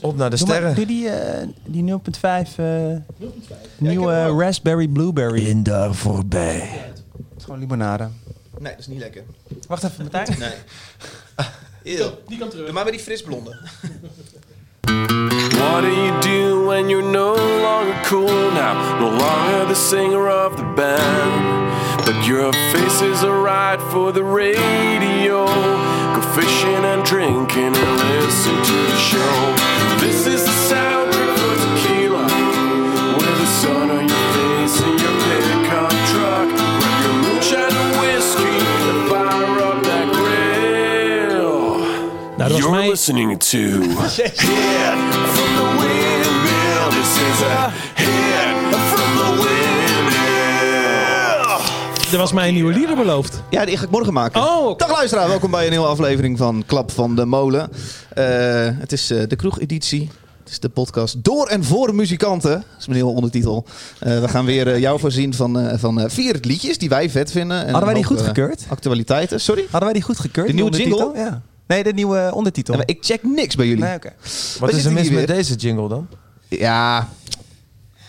Op naar de Doe, maar- sterren. doe die, eh, die 0.5 eh, nieuwe raspberry blueberry. in daar voorbij. Het is gewoon limonade. Nee, dat is niet lekker. Wacht even, Martijn. Nee. Eeuw. Die kan terug. Doe maar met die frisblonde. What do you do when you're no longer cool now? No longer the singer of the band. But your face is alright for the radio. Go fishing and drinking and listen to the show. This is the soundtrack for tequila. With the sun on your face and your pickup truck. Grab your moonshine and whiskey and fire up that grill. Nou, dat was You're mij. listening to Hit from the Windmill. This is a hit from the Windmill. Er was mij een nieuwe lieder beloofd. Ja, die ga ik morgen maken. Oh, oké. Dag luisteraar, welkom bij een nieuwe aflevering van Klap van de Molen. Eh, het is eh, de kroegeditie. Het is de podcast door en voor muzikanten. Dat is mijn nieuwe ondertitel. Eh, we gaan weer eh, jou voorzien van, eh, van eh, vier liedjes die wij vet vinden. En Hadden wij die ook, eh, goedgekeurd? actualiteiten, sorry. Hadden wij die goed gekeurd? De nieuwe die jingle? ondertitel? Ja. Nee, de nieuwe ondertitel. Ja, maar ik check niks bij jullie. nee, oké. Wat Waar is er zitten mis die met weer? deze jingle dan? Ja,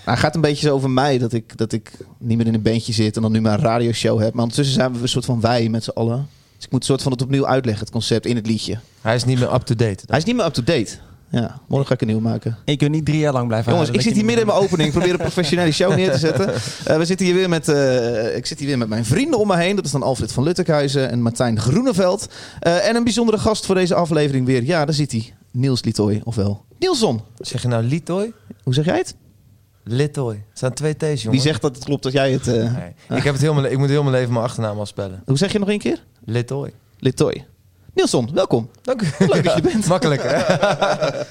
hij gaat een beetje zo over mij dat ik, dat ik niet meer in een bandje zit en dan nu maar een radioshow heb. Maar ondertussen zijn we een soort van wij met z'n allen. Dus ik moet een soort van het opnieuw uitleggen, het concept in het liedje. Hij is niet meer up-to-date. Hij is niet meer up-to-date. Ja, morgen ga ik een nieuw maken. Ik wil niet drie jaar lang blijven Jongens, ik huilen zit dat hier je midden in niet mijn opening. Ik probeer een professionele show neer te zetten. Eh, we zitten hier weer met, eh, ik zit hier weer met mijn vrienden om me heen. Dat is dan Alfred van Luttekhuizen en Martijn Groeneveld. Eh, en een bijzondere gast voor deze aflevering weer. Ja, daar zit hij. Niels Litoy, ofwel Nielson. Zeg je nou Litoy? Hoe zeg jij het? Litoy. Het zijn twee T's, jongen. Wie zegt dat het klopt dat jij het... eh, Nee. Ik, heb het heel mijn, le- ik moet heel mijn leven mijn achternaam afspellen. Hoe zeg je nog één keer? Litoy. Litoy. Nielson, welkom. Dank u. Leuk dat je bent. Makkelijk, hè?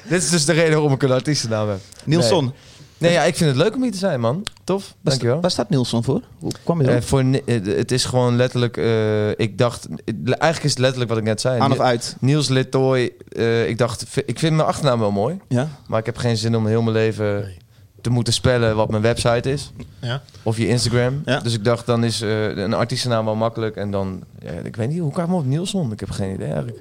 Dit is dus de reden waarom ik een artiestennaam heb. Nielson. Nee, ja, ik vind het leuk om hier te zijn, man. Tof. Waar, Dankjewel. sta- waar staat Nielson voor? Hoe kwam je erop? Eh, voor, ni- eh, het is gewoon letterlijk... eh, ik dacht... Eigenlijk is het letterlijk wat ik net zei. Aan Ni- of uit? Niels Litoy. eh, ik dacht... vi- Ik vind mijn achternaam wel mooi. Ja. Maar ik heb geen zin om heel mijn leven te moeten spellen wat mijn website is. Ja. Of je Instagram. Ja. Dus ik dacht, dan is eh, een artiestennaam wel makkelijk. En dan, ja, ik weet niet, hoe kwam ik op Nielson? Ik heb geen idee eigenlijk.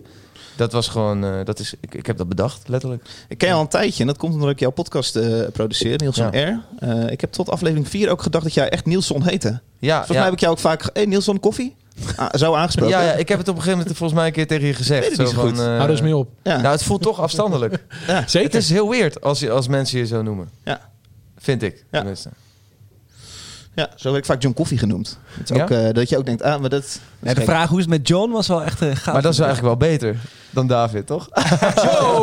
Dat was gewoon, eh, dat is, ik, ik heb dat bedacht, letterlijk. Ik ken je al een tijdje en dat komt omdat ik jouw podcast eh, produceer, Nielson R. Eh, ik heb tot aflevering 4 ook gedacht dat jij echt Nielson heette. Ja, Volgens Ah, ja. mij heb ik jou ook vaak... ge- hey, Nielson, koffie? Ah, zo aangesproken. ja, ja, ik heb het op een gegeven moment volgens mij een keer tegen je gezegd. Weet het niet zo goed. eh, Hou dus mee op. Ja. Nou, het voelt toch afstandelijk. het Zeker. is heel weird als, je, als mensen je zo noemen. Ja. Vind ik, Ja. tenminste. Ja, zo werd ik vaak John Coffee genoemd. Dat, is Ja? ook, eh, dat je ook denkt, ah, maar dat... dat is Ja, de gek. vraag hoe is het met John was wel echt eh, gaaf. Maar dat is eigenlijk wel beter dan David, toch? Kijk,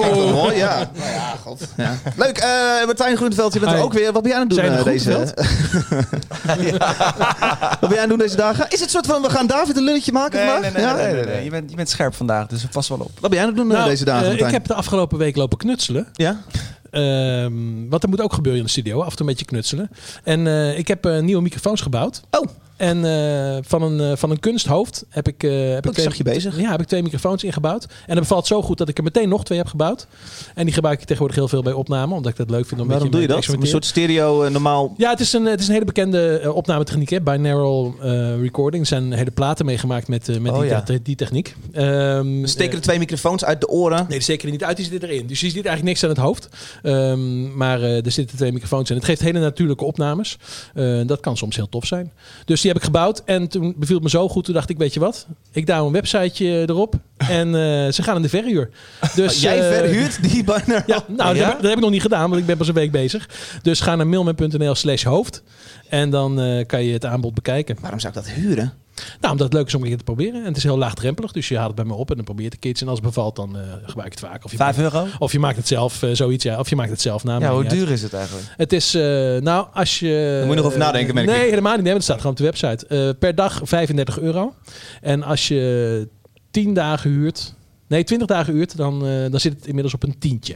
wat mooi, ja. Nou ja, god. Ja. Leuk, eh, Martijn Groeneveld, je bent er Hi. ook weer. Wat ben jij aan het doen Zijn eh, er deze... Wat ben jij aan het doen deze dagen? Is het een soort van, we gaan David een lulletje maken Nee, nee, vandaag? nee, nee, Ja? nee, nee, nee. nee. Je, bent, je bent scherp vandaag, dus pas wel op. Wat ben jij aan het doen eh, Nou, deze dagen, eh, ik Martijn? heb de afgelopen week lopen knutselen. Ja? Ehm, want dat moet ook gebeuren in de studio. Af en toe een beetje knutselen. En eh, ik heb eh, nieuwe microfoons gebouwd. Oh. En eh, van, een, eh, van een kunsthoofd heb ik, eh, heb ik Oh, zag je bezig. Ja, heb ik twee microfoons ingebouwd. En dat bevalt zo goed dat ik er meteen nog twee heb gebouwd. En die gebruik ik tegenwoordig heel veel bij opname. Omdat ik dat leuk vind om Waarom een doe je beetje dat? mee te Een soort experimenteren. stereo, eh, normaal... Ja, het is een, het is een hele bekende eh, opnametechniek. Hè? Binaural eh, recording. Er zijn hele platen meegemaakt met, eh, met Oh, die, ja. te- die techniek. Ehm, We steken de twee microfoons uit de oren. Nee, zeker niet uit. Die zit erin. Dus je ziet eigenlijk niks aan het hoofd. Ehm, maar eh, er zitten twee microfoons in. Het geeft hele natuurlijke opnames. Eh, dat kan soms heel tof zijn. Dus die heb ik gebouwd. En toen beviel het me zo goed. Toen dacht ik, weet je wat? Ik duw een websiteje erop. En eh, ze gaan in de verhuur. Dus, Jij eh, verhuurt die banner. Ja, nou, Ja? Dat, heb, ik- dat heb ik nog niet gedaan, want ik ben pas een week bezig. Dus ga naar mailman.nl slash hoofd. En dan eh, kan je het aanbod bekijken. Waarom zou ik dat huren? Nou, omdat het leuk is om een keer te proberen. En het is heel laagdrempelig. Dus je haalt het bij me op en dan probeer je het een keertje. En als het bevalt, dan eh, gebruik ik het vaak. Of je Vijf euro? of je maakt het zelf, eh, zoiets. Ja. Of je maakt het zelf na. Ja, maakt hoe niet uit. duur is het eigenlijk? Het is, eh, nou, als je... moet je nog over nadenken, merk Nee, ik. helemaal niet. Nee, want het staat gewoon op de website. Eh, per dag 35 euro. En als je 10 dagen huurt... Nee, 20 dagen huurt, dan, eh, dan zit het inmiddels op een tientje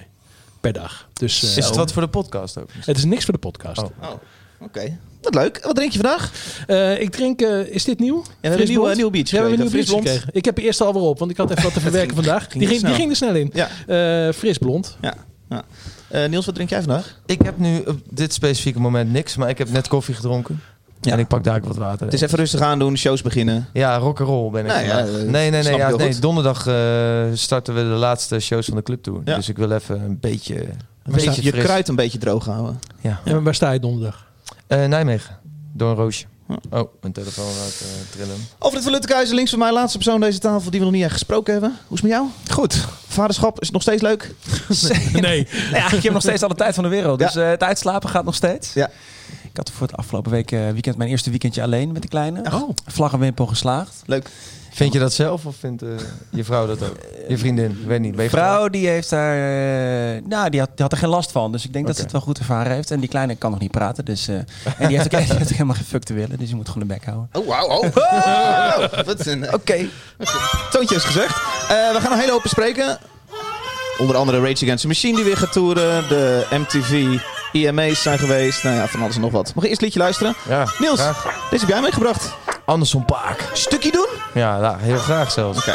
per dag. Dus eh, Is het wat voor de podcast ook? het is niks voor de podcast. Oh. Oh, oké. Wat leuk. Wat drink je vandaag? Eh, ik drink... eh, is dit nieuw? we hebben Fris een nieuwe- Blond? nieuwe biertjes Ja, we hebben een nieuwe gekregen. biertjes Fris gekregen. Ik heb de eerste alweer op, want ik had even wat te verwerken vandaag. Die ging, die snel. ging er snel in. Ja. Eh, fris blond. Ja. ja. Eh, Niels, wat drink jij vandaag? Ik heb nu op dit specifieke moment niks, maar ik heb net koffie gedronken. Ja. En ik pak daar ook wat water. Het is even rustig aandoen, shows beginnen. Ja, rock and roll ben ik. Nou ja, vandaag. eh, nee, nee, snap nee, ik ja, heel nee. goed. Donderdag eh, starten we de laatste shows van de clubtour. Ja. Dus ik wil even een beetje Een beetje je fris. kruid een beetje droog houden. Ja. En waar sta je donderdag? Eh, Nijmegen. Door een roosje. Hm. Oh, mijn telefoon uit trillen. Alfred van Luttekhuizen, links van mij, laatste persoon aan deze tafel die we nog niet echt gesproken hebben. Hoe is het met jou? Goed. Vaderschap is nog steeds leuk. Nee. Nou ja, ik heb nog steeds alle tijd van de wereld. Ja. Dus eh, het uitslapen gaat nog steeds. Ja. Ik had voor het afgelopen week, eh, weekend mijn eerste weekendje alleen met de kleine. Oh. Vlag en wimpel geslaagd. Leuk. Vind je dat zelf of vindt eh, je vrouw dat ook? Je vriendin, weet niet. Ben je getrouwd? Vrouw die heeft daar, eh, nou die had, die had er geen last van. Dus ik denk dat ze Oké. het wel goed ervaren heeft. En die kleine kan nog niet praten. Dus, eh, en die heeft, ook, die heeft ook helemaal geen fuck te willen. Dus je moet gewoon de bek houden. Oh, wauw. Oh. Oh, wat een Oké. toontje is gezegd. Eh, we gaan een hele hoop bespreken. Onder andere Rage Against the Machine die weer gaat toeren. De MTV IMA's E zijn geweest. Nou ja, van alles en nog wat. Mag ik eerst een liedje luisteren? Ja, Niels, graag. deze heb jij meegebracht. Anderson Paak. Stukje doen? Ja, nou, heel graag zelfs. Oké.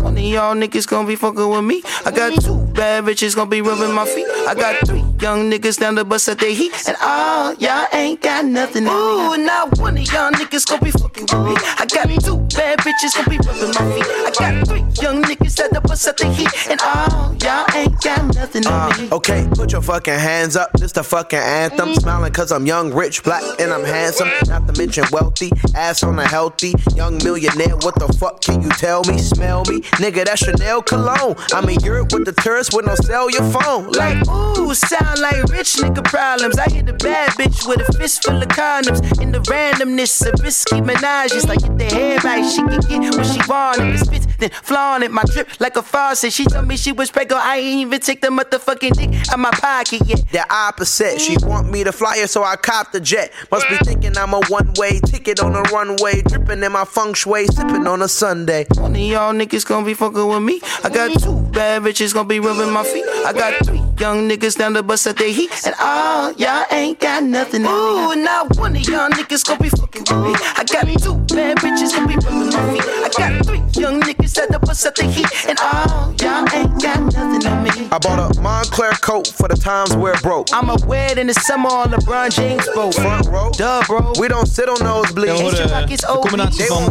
One of y'all niggas gonna be fucking with me. I got two bad bitches gonna be rubbing my feet. I got three young niggas down the bus at they heat. And all y'all ain't got nothing to Ooh, not one of y'all niggas gonna be fucking with me. I got two bad bitches gonna be rubbing my feet. I got three young niggas at the bus at they heat. And all y'all ain't got nothing to me. Uh, Okay, put your fucking hands up. This the fucking anthem. Smiling cause I'm young, rich, black, and I'm handsome. Not to mention wealthy. Ass on a healthy. Young millionaire. What the fuck can you tell me? Smell me. Nigga, that's Chanel cologne. I'm in Europe with the tourists with no cell your phone. Like, Like, ooh, sound like rich nigga problems. I hit a bad bitch with a fist full of condoms. In the randomness of risky menages. Like, get the head right, she can get what she want. If it spits, then flaunt it. My drip like a faucet. She told me she was pregnant. I ain't even take the motherfucking dick out my pocket yet. the opposite. She want me to fly her, so I cop the jet. Must be thinking I'm a one way ticket on a runway. Dripping in my feng shui, sipping on a Sunday. One of y'all niggas gonna be fucking with me. I got two bad bitches gonna be rubbing my feet. I got three young niggas down the bus at they heat. And all y'all ain't got nothing. Ooh, not one of y'all niggas gonna be fucking with me. I got two bad bitches gonna be rubbing my feet. I got three young niggas at the bus at they heat. And all y'all ain't got nothing on me. I bought a Montclair coat for the times where it broke. I'm a wed in the summer on LeBron James boat. Front row, Duh, bro. We don't sit on those bleeds. We horen eh, de combinatie van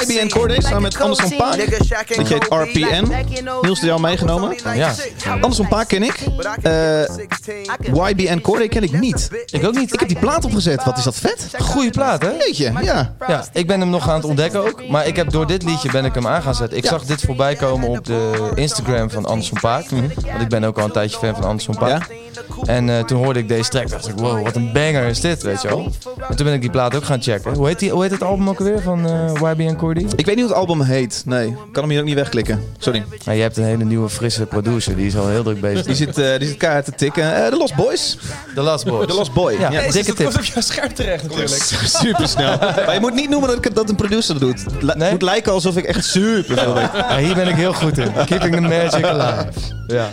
YB en Cordae samen met Anderson Paak. Shaq Dat heet RPN. Niels, die al meegenomen. Ja. Anderson Paak ken ik. Eh, YB en Cordae ken ik niet. Ik ook niet. Ik heb die plaat opgezet. Wat is dat vet? Goeie plaat, hè? Jeetje, ja. Ja, ik ben hem nog aan het ontdekken ook. Maar ik heb door dit liedje ben ik hem aan gaan zetten. Ik zag dit voorbij komen op de Instagram van Anderson Paak. Mhm. Want ik ben ook al een tijdje fan van Anderson Paak. En eh, toen hoorde ik deze track. dacht ik, wow, wat een banger is dit, weet je wel. En toen ben ik die plaat ook gaan checken. Hoe heet, die, hoe heet het album ook weer van eh YB en Cordy? Ik weet niet hoe het album heet. Nee, ik kan hem hier ook niet wegklikken. Sorry. Nou, je hebt een hele nieuwe frisse producer. Die is al heel druk bezig. Die zit, eh, die zit keihard te tikken. Eh, The Lost Boys. The Last Boy. The Lost Boy. Ja, Ja. dikke tip. op jouw scherm terecht natuurlijk. Super snel. maar je moet niet noemen dat, ik, dat een producer dat doet. Het li- Nee? moet lijken alsof ik echt super veel weet. Ja, hier ben ik heel goed in. Keeping the magic alive. Ja.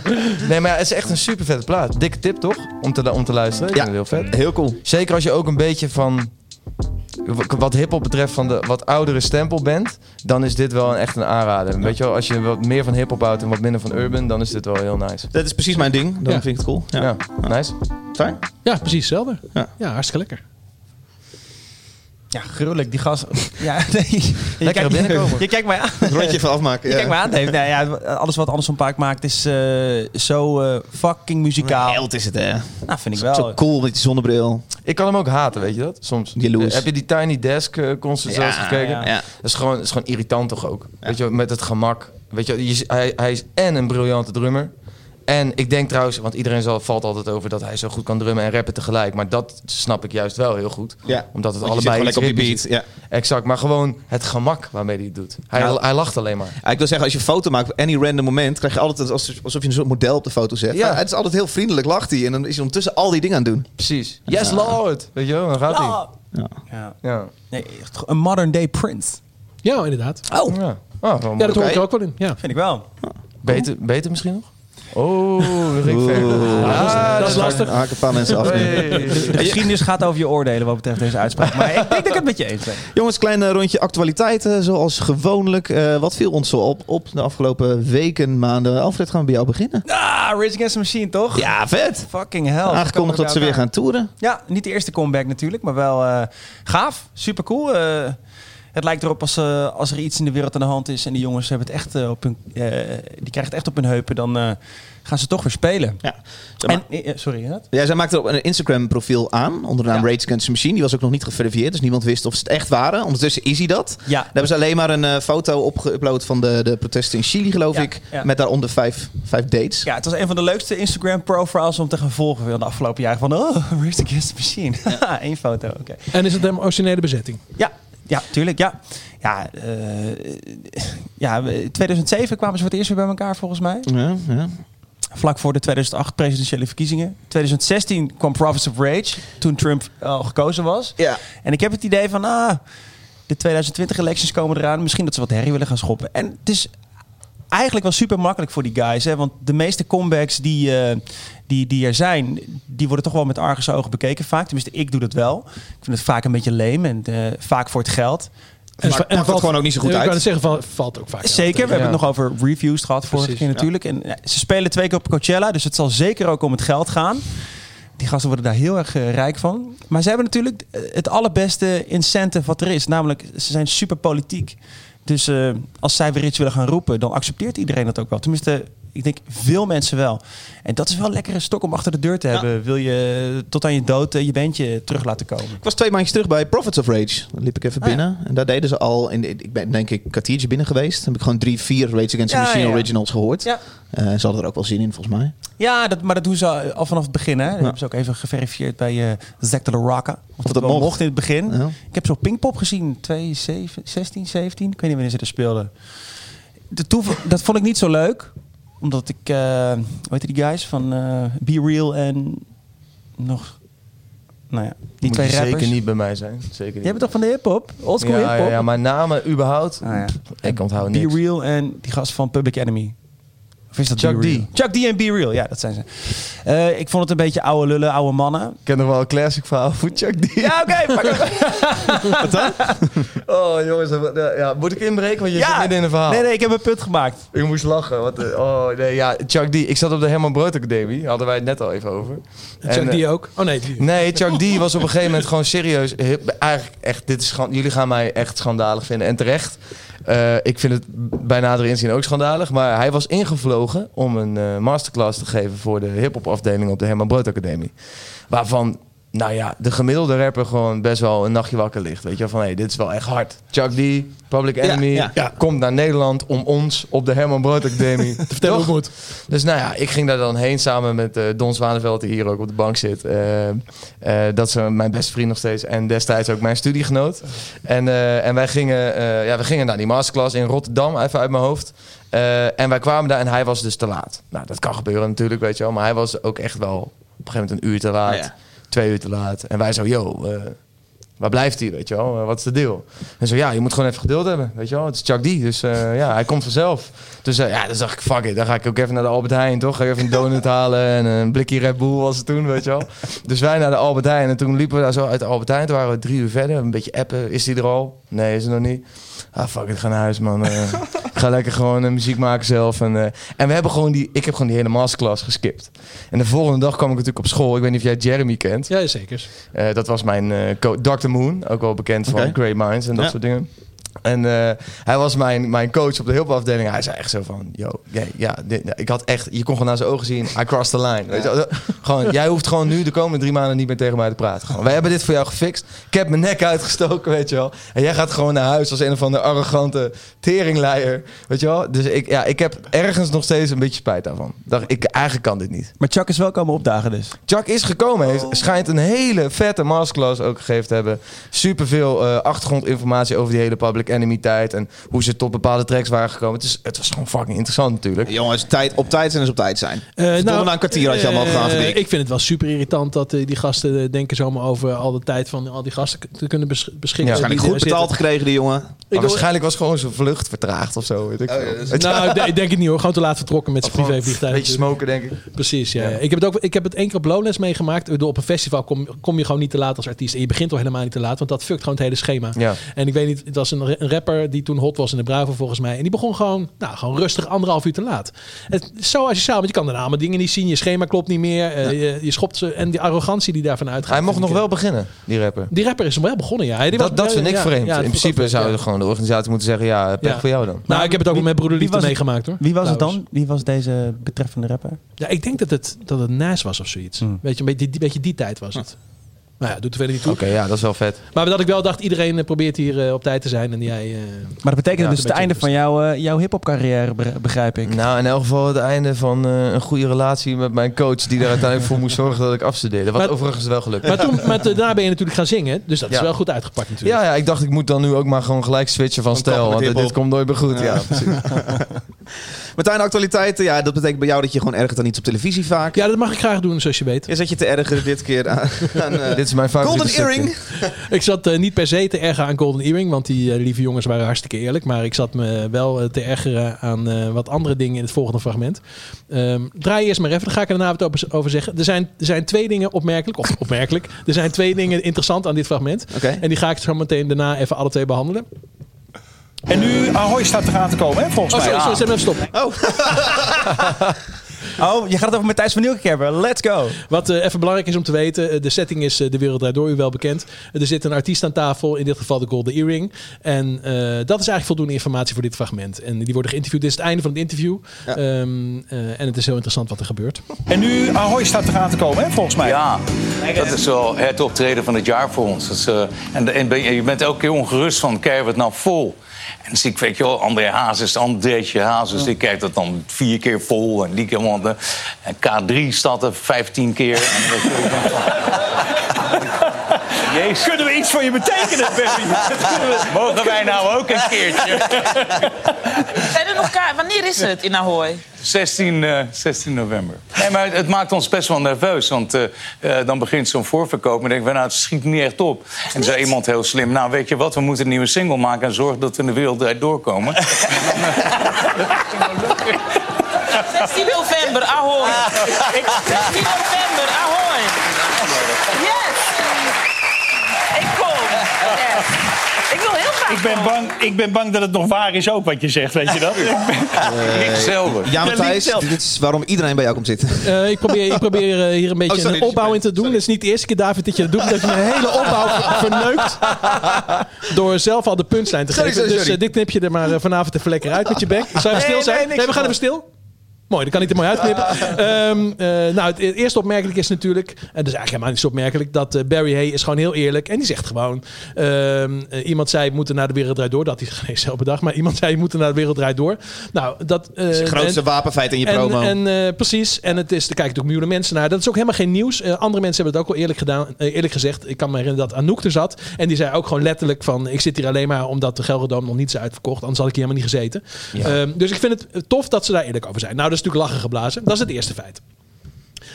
Nee, maar ja, het is echt een super vette plaat. Dikke tip toch? Om te, om te luisteren. Ik Ja. vind het heel vet. Heel cool. Zeker als je ook een beetje van wat hip-hop betreft van de wat oudere stempel bent, dan is dit wel een, echt een aanrader. Weet je wel, als je wat meer van hip-hop houdt en wat minder van urban, dan is dit wel heel nice. Dat is precies mijn ding. Dan Ja. vind ik het cool. Ja. Ja, nice. Fijn. Ja, precies hetzelfde. Ja. Ja, hartstikke lekker. Ja, gruwelijk. Die gas... Ja, nee. Je kijkt- binnenkomen. Je kijkt mij aan. Het rondje even afmaken. Kijk Ja. maar aan. Nee, nou ja, alles wat Anderson Paak maakt is eh, zo eh, fucking muzikaal. Held is het, hè? Nou, vind ik Zo wel. cool met die zonnebril. Ik kan hem ook haten, weet je dat? Soms. Jaloers. Eh, Heb je die Tiny Desk eh, concert Ja, zelfs gekeken? ja. Ja. Dat is gewoon, dat is gewoon irritant toch ook? Weet je wel, met het gemak. Weet je, wel, je z- hij, hij is en een briljante drummer. En ik denk trouwens, want iedereen zal, valt altijd over dat hij zo goed kan drummen en rappen tegelijk. Maar dat snap ik juist wel heel goed. Ja. Omdat het Want je zit allebei gewoon iets lekker op die ritmisch beat, is. Exact, maar gewoon het gemak waarmee hij het doet. Hij, Ja. hij lacht alleen maar. Ja, ik wil zeggen, als je een foto maakt op any random moment, krijg je altijd als- alsof je een soort model op de foto zet. Ja. Ja. Het is altijd heel vriendelijk, lacht hij. En dan is hij ondertussen al die dingen aan het doen. Precies. Yes, Lord! Weet je wel, dan gaat hij. Ah. Ja. Ja. Ja. Nee, echt een modern day prince. Ja, inderdaad. Oh, ja. Ah, wel Ja, mooi. dat hoor ik Oké. er ook wel in. Ja. vind ik wel. beter, beter misschien nog? Oh, dat ging ver. Ah, dat is waar. lastig. Dan haak ik een paar mensen af. nu. Hey. De geschiedenis gaat over je oordelen wat betreft deze uitspraak. Maar ik denk dat ik het met je eens ben. Jongens, klein eh, rondje actualiteiten, zoals gewoonlijk. Eh, wat viel ons zo op, op de afgelopen weken, maanden? Alfred, gaan we bij jou beginnen? Ah, Rage Against the Machine, toch? Ja, vet! Fucking hell. Aangekondigd dat ze weer gaan toeren. Ja, niet de eerste comeback natuurlijk, maar wel eh, gaaf. Super cool. het lijkt erop als, eh, als er iets in de wereld aan de hand is en die jongens hebben het echt eh, op hun, eh, die krijgen het echt op hun heupen, dan eh, gaan ze toch weer spelen. Ja. En, eh, sorry, hè? Ja, zij maakte ook een Instagram-profiel aan onder de naam Ja. Rage Against the Machine. Die was ook nog niet geverifieerd, dus niemand wist of ze het echt waren. Ondertussen is hij dat. Ja. Daar hebben ze alleen maar een eh, foto opgeüpload van de, de protesten in Chili, geloof Ja, ik. ja. Met daaronder vijf, vijf dates. Ja, het was een van de leukste Instagram profiles om te gaan volgen van de afgelopen jaren. Van, oh, Rage Against the Machine. Haha, Eén foto, oké. En is het een originele bezetting? Ja, ja, tuurlijk, ja. Ja, eh, ja, we- 2007 kwamen ze voor het eerst weer bij elkaar volgens mij. Ja, ja. Vlak voor de 2008 presidentiële verkiezingen. 2016 kwam Prophets of Rage, toen Trump eh, al gekozen was. Ja. En ik heb het idee van, ah, de 2020-elections komen eraan. Misschien dat ze wat herrie willen gaan schoppen. En het is eigenlijk wel super makkelijk voor die guys. Hè? Want de meeste comebacks die, eh, die, die er zijn, die worden toch wel met argus ogen bekeken vaak. Tenminste, ik doe dat wel. Ik vind het vaak een beetje leem en eh, vaak voor het geld. En, maar het gewoon ook niet zo goed Ik uit. kan het zeggen, van, valt ook vaak Zeker, we uit. hebben ja. het nog over reviews gehad vorige Precies, keer natuurlijk. En eh, ze spelen twee keer op Coachella, dus het zal zeker ook om het geld gaan. Die gasten worden daar heel erg eh, rijk van. Maar ze hebben natuurlijk eh, het allerbeste incentive wat er is. Namelijk, ze zijn super politiek. Dus eh, als zij weer iets willen gaan roepen, dan accepteert iedereen dat ook wel. Tenminste, ik denk veel mensen wel. En dat is wel een lekkere stok om achter de deur te hebben. Wil je tot aan je dood eh, je bandje terug laten komen. Ik was twee maandjes terug bij Profits of Rage. Dan liep ik even Ah, ja. binnen. En daar deden ze al, in, ik ben denk ik een kwartiertje binnen geweest. Dan heb ik gewoon drie, vier Rage Against the Ja, Machine ja, ja. originals gehoord. Ja. Eh, ze hadden er ook wel zin in, volgens mij. Ja, dat, maar dat doen ze al vanaf het begin. Hè? Dat hebben ze ook even geverifieerd bij eh Zack de la Rocca. Of, dat, dat wel mocht. mocht. in het begin. Ja. Ik heb zo'n Pinkpop gezien, 2016, 17. Ik weet niet wanneer ze er speelden. De toev- dat vond ik niet zo leuk. Omdat ik, eh hoe heet die guys van eh Be Real en nog, nou ja, die Moet twee je rappers. zeker niet bij mij zijn. Zeker niet. Jij bent toch van de hip-hop? Oldschool ja, ja, hip-hop? ja, maar namen überhaupt. Ah, ja. Ik onthoud Be niks. Real en die gast van Public Enemy. Of is dat Chuck Be Real? D. Chuck D en Be Real, ja, dat zijn ze. Eh, ik vond het een beetje oude lullen, oude mannen. Ik ken nog wel een classic verhaal van Chuck D. Ja, oké. pak hem. Oh jongens, dat- ja, ja, moet ik inbreken? Want je ja. zit midden in een verhaal. Nee, nee, ik heb een punt gemaakt. Ik moest lachen. Want, eh, oh nee, ja, Chuck D. Ik zat op de Herman Brood Academie. Hadden wij het net al even over. En Chuck En, eh, eh, die ook? Oh nee, die. Nee, Chuck D was op een gegeven moment gewoon serieus. heel- Eigenlijk echt, dit is schan- jullie gaan mij echt schandalig vinden. En terecht. Eh, ik vind het bij nader inzien ook schandalig. Maar hij was ingevlogen om een eh, masterclass te geven voor de hip-hop afdeling op de Herman Brood Academie. Waarvan, nou ja, de gemiddelde rapper gewoon best wel een nachtje wakker ligt. Weet je, wel, van hé, dit is wel echt hard. Chuck D, Public Enemy, ja, ja. komt naar Nederland om ons op de Herman Brood Academie te Vertel ook goed. dus nou ja, ik ging daar dan heen samen met eh, Don Zwaneveld, die hier ook op de bank zit. Eh, eh, dat is eh, mijn beste vriend nog steeds en destijds ook mijn studiegenoot. En, eh, en wij gingen, eh, ja, we gingen naar die masterclass in Rotterdam, even uit mijn hoofd. Eh, en wij kwamen daar en hij was dus te laat. Nou, dat kan gebeuren natuurlijk, weet je wel. Maar hij was ook echt wel op een gegeven moment een uur te laat, Ah, ja. twee uur te laat. En wij zo, yo, eh, waar blijft hij, weet je wel? Eh, wat is de deal? En zo, ja, je moet gewoon even geduld hebben, weet je wel? Het is Chuck D, dus eh, ja, hij komt vanzelf. Dus eh, ja, dan dacht ik, fuck it, dan ga ik ook even naar de Albert Heijn, toch? Ga ik even een donut halen en een blikje Red Bull was het toen, weet je wel? Dus wij naar de Albert Heijn en toen liepen we daar zo uit de Albert Heijn. Toen waren we drie uur verder, een beetje appen. Is hij er al? Nee, is hij nog niet. Ah, fuck it, ga naar huis, man. Eh, ik ga lekker gewoon eh, muziek maken zelf. En, eh, en we hebben gewoon die, ik heb gewoon die hele masterclass geskipt. En de volgende dag kwam ik natuurlijk op school. Ik weet niet of jij Jeremy kent. Ja, zeker. Eh, dat was mijn eh, co- Dr. Moon, ook wel bekend van Oké. Great Minds en dat Ja. soort dingen. En eh, hij was mijn, mijn coach op de hulpafdeling. Hij zei echt zo van, yo, jij- ja, dit- ja, ik had echt, je kon gewoon naar zijn ogen zien, I crossed the line. Weet je, wel. gewoon, jij hoeft gewoon nu de komende drie maanden niet meer tegen mij te praten. Gewoon, wij hebben dit voor jou gefixt. Ik heb mijn nek uitgestoken, weet je wel. En jij gaat gewoon naar huis als een van de arrogante teringleier, weet je wel. Dus ik, ja, ik heb ergens nog steeds een beetje spijt daarvan. Dacht, ik, eigenlijk kan dit niet. Maar Chuck is wel komen opdagen dus. Chuck is gekomen. Heeft, schijnt een hele vette masterclass ook gegeven te hebben. Superveel eh achtergrondinformatie over die hele Public Enemy tijd. En hoe ze tot bepaalde tracks waren gekomen. Het, is, het was gewoon fucking interessant natuurlijk. Jongens, tijd, op tijd zijn is op tijd zijn. Eh, Verdomme, na een kwartier had je allemaal eh, gedaan, vind ik. Ik vind het wel super irritant dat eh, die gasten eh, denken zomaar over al de tijd van al die gasten k- te kunnen bes- beschikken. Ja, Waarschijnlijk Die eh, goed er betaald zitten. gekregen, die jongen. Maar Ik bedoel- waarschijnlijk was gewoon zijn vlucht vertraagd of zo. Weet ik veel. Het- nou, ik de- ik denk het niet hoor. Gewoon te laat vertrokken met zijn gewoon privévliegtuig. Beetje natuurlijk. smoken, denk ik. Precies, ja. Ik, heb het ook, ik heb het één keer op Lowlands meegemaakt. Ik bedoel, Op een festival kom, kom je gewoon niet te laat als artiest. En je begint al helemaal niet te laat, want dat fuckt gewoon het hele schema. Ja. En ik weet niet, het was een, een rapper die toen hot was in de Bravo volgens mij. En die begon gewoon, nou, gewoon rustig anderhalf uur te laat. Het is zo asociaal, want je kan daarna allemaal dingen niet zien. Je schema klopt niet meer. eh, je, je schopt ze. En die arrogantie die daarvan uitgaat. Hij mocht nog vind ik, wel eh, beginnen, die rapper. Die rapper is wel begonnen, ja. Hij- die was- Dat, dat ja, vind ik ja, vreemd. ja, In dat- principe dat- zou ja. je gewoon de organisatie moeten zeggen, ja, pech Ja. voor jou dan. Nou, ik heb het ook Wie- met Broeder wie Liefde was het? meegemaakt hoor. Wie was het Trouwens. dan? Wie was deze betreffende rapper? Ja, ik denk dat het, dat het naast was of zoiets. Hmm. Weet je, een beetje, die, beetje die tijd was het. Nou ja, doet er verder niet toe. Oké, ja, dat is wel vet. Maar dat ik wel dacht, iedereen eh, probeert hier eh, op tijd te zijn. En jij, eh, Maar dat betekent Ja, dus het een einde beetje van jouw, eh, jouw hip-hop carrière, begrijp ik. Nou, in elk geval het einde van eh, een goede relatie met mijn coach... die er uiteindelijk voor moest zorgen dat ik afstudeerde. Wat Maar- overigens wel gelukt maar, toen, maar daarna ben je natuurlijk gaan zingen. Dus dat is Ja. wel goed uitgepakt natuurlijk. Ja, ja, ik dacht ik moet dan nu ook maar gewoon gelijk switchen van Dan kappen stijl. met Want eh, dit hiphop. komt nooit meer goed. Ja, precies. Martijn, actualiteiten. Ja, dat betekent bij jou dat je gewoon erger dan iets op televisie vaak. Ja, dat mag ik graag doen, zoals je weet. Je zet je te ergeren dit keer aan, aan, eh, Dit is mijn favoriete Golden stukje. Earring. Ik zat eh, niet per se te ergeren aan Golden Earring, want die eh, lieve jongens waren hartstikke eerlijk. Maar ik zat me wel eh, te ergeren aan eh, wat andere dingen in het volgende fragment. Ehm, draai eerst maar even, dan ga ik er daarna wat over- over zeggen. Er zijn, er zijn twee dingen opmerkelijk, of opmerkelijk. Er zijn twee dingen interessant aan dit fragment. Oké. En die ga ik zo meteen daarna even alle twee behandelen. Oh, En nu, Ahoy staat eraan te komen, hè, volgens Oh, mij. sorry, sorry, zet me even stop. Oh, je gaat het over Matthijs van Nieuwkerk hebben. Let's go. Wat eh, even belangrijk is om te weten, eh, de setting is eh, De Wereld Draait Door, u wel bekend. Eh, er zit een artiest aan tafel, in dit geval de Golden Earring. En eh, dat is eigenlijk voldoende informatie voor dit fragment. En die worden geïnterviewd, dit is het einde van het interview. Ehm, eh, en het is heel interessant wat er gebeurt. En nu, Ahoy staat eraan te komen, hè, volgens mij. Ja, dat is wel het optreden van het jaar voor ons. Dat is, eh, en, en ben je, je bent elke keer ongerust van, krijgen we het nou vol? En dan zie ik, weet je wel, André Hazes, Andréetje Hazes... die kijkt dat dan vier keer vol en die keer... want, eh, En K3 staat er vijftien keer. En dat- Jezus. Kunnen we iets voor je betekenen, Berry? Mogen wij nou ook een keertje? Zijn er nog ka- Wanneer is het in Ahoy? 16, eh, 16 november. Nee, maar het, het maakt ons best wel nerveus. Want eh, eh, dan begint zo'n voorverkoop. En denk ik, nou, het schiet niet echt op. en dan zei iemand heel slim... Nou, weet je wat, we moeten een nieuwe single maken... en zorgen dat we in de wereld eruit doorkomen. 16 november, Ahoy. Ah. 16 november, Ahoy. Yes. Ik kom. Yes. Ik wil heel graag Ik ben, komen. bang, ik ben bang dat het nog waar is ook, wat je zegt, weet je dat? Niks zelden. Ja, Matthijs, zelf. dit is waarom iedereen bij jou komt zitten. Eh, ik probeer, ik probeer eh, hier een beetje Oh, sorry, een opbouw in te doen. sorry. Het is niet de eerste keer, David, dat je dat doet. Dat je een hele opbouw ver- verneukt. Door zelf al de puntlijn te Sorry, geven. sorry, dus sorry. eh, dit knip je er maar eh, vanavond even lekker uit met je bek. Zou even stil zijn? Nee, we gaan even stil. Mooi, dat kan niet er mooi uitknippen. Ehm, eh, nou, het eerste opmerkelijk is natuurlijk... en dat is eigenlijk helemaal niet zo opmerkelijk... dat eh, Barry Hay is gewoon heel eerlijk. En die zegt gewoon... ehm, eh, iemand zei, we moeten naar de wereld draait door. Dat is geen zelf bedacht. Maar iemand zei, we moeten naar de wereld draait door. Nou, dat... eh, Het grootste en- wapenfeit in je en, promo. En, eh, precies, en het is, er kijken natuurlijk miljoenen mensen naar. Dat is ook helemaal geen nieuws. Eh, andere mensen hebben het ook al eerlijk, gedaan, eh, eerlijk gezegd. Ik kan me herinneren dat Anouk er zat. En die zei ook gewoon letterlijk van... ik zit hier alleen maar omdat de Gelredome nog niet is uitverkocht. Anders had ik hier helemaal niet gezeten. Ehm, dus ik vind het tof dat ze daar eerlijk over zijn. Nou, dat is natuurlijk lachen geblazen. Dat is het eerste feit.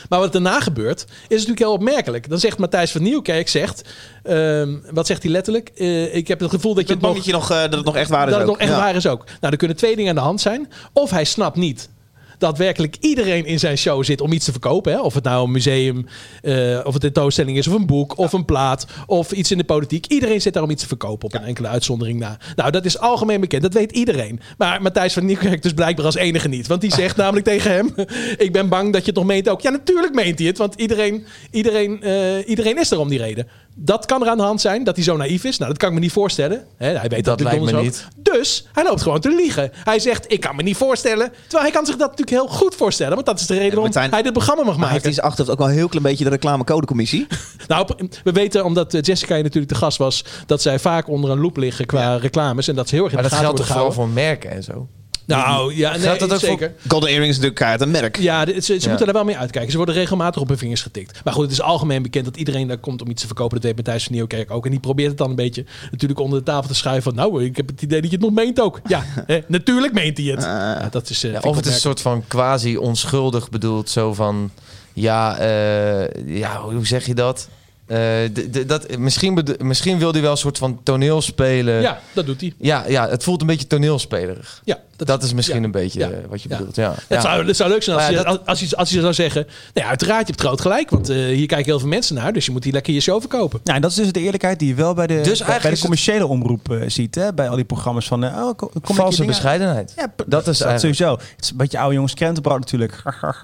Maar wat daarna gebeurt, is natuurlijk heel opmerkelijk. Dan zegt Matthijs van Nieuwkerk, zegt, ehm, wat zegt hij letterlijk? Eh, ik heb het gevoel dat ik je ben het bang dat, nog je nog, eh, dat het nog echt waar is dat het ook. nog echt Ja. waar is ook. Nou, er kunnen twee dingen aan de hand zijn. Of hij snapt niet dat werkelijk iedereen in zijn show zit om iets te verkopen. Hè? Of het nou een museum, eh, of een tentoonstelling is, of een boek, of een plaat, of iets in de politiek. Iedereen zit daar om iets te verkopen, op een enkele uitzondering na. Nou, dat is algemeen bekend, dat weet iedereen. Maar Matthijs van Nieuwkerk dus blijkbaar als enige niet. Want die zegt namelijk tegen hem, ik ben bang dat je het nog meent ook. Ja, natuurlijk meent hij het, want iedereen, iedereen, eh, iedereen is er om die reden. Dat kan er aan de hand zijn, dat hij zo naïef is. Nou, dat kan ik me niet voorstellen. Hè, hij weet Dat natuurlijk lijkt me donders ook. Dus hij loopt gewoon te liegen. Hij zegt, ik kan me niet voorstellen. Terwijl hij kan zich dat natuurlijk heel goed voorstellen. Want dat is de reden waarom Martijn, hij dit programma mag Maar heeft maken. die zijn achterhoofd ook wel een heel klein beetje de reclamecodecommissie? Nou, op- we weten, omdat eh, Jessica hier natuurlijk de gast was... dat zij vaak onder een loep liggen qua reclames. En dat ze heel erg in Maar de dat gaten geldt toch worden vooral gehouden. voor merken en zo? Nou, ja, nee, Geldt dat ook voor- zeker. Golden Earring is natuurlijk kaart een merk. Ja, dit- ze, ze Ja. moeten er wel mee uitkijken. Ze worden regelmatig op hun vingers getikt. Maar goed, het is algemeen bekend dat iedereen daar komt om iets te verkopen. Dat weet Matthijs van Nieuwkerk ook. En die probeert het dan een beetje natuurlijk onder de tafel te schuiven. Van, nou, ik heb het idee dat je het nog meent ook. Ja, hè, natuurlijk meent hij het. Ja, dat is, eh, Ja, vind ik Ah. of het is een opmerkelijk. soort van quasi onschuldig bedoeld, zo van... Ja, eh, ja, hoe zeg je dat? eh, d- d- dat, misschien, bedo- misschien wil hij wel een soort van toneel spelen. ja, dat doet hij. ja, ja, het voelt een beetje toneelspelerig. Ja, Dat, is misschien een beetje ja, eh, wat je ja. bedoelt. Ja. Dat, ja. zou, dat zou leuk zijn als, Maar ja, je, als, je, als je zou zeggen... Nou ja, uiteraard, je hebt groot gelijk. Want eh, hier kijken heel veel mensen naar. Dus je moet die lekker je show verkopen. Nou, en dat is dus de eerlijkheid die je wel bij de, bij- Dus eigenlijk bij de is het- commerciële omroep eh, ziet. Hè? Bij al die programma's van... eh, oh, kom, kom ik je Valse dingen- bescheidenheid. Ja, p- dat is dat eigenlijk... sowieso. Het is een beetje oude jongens krentenbrood natuurlijk.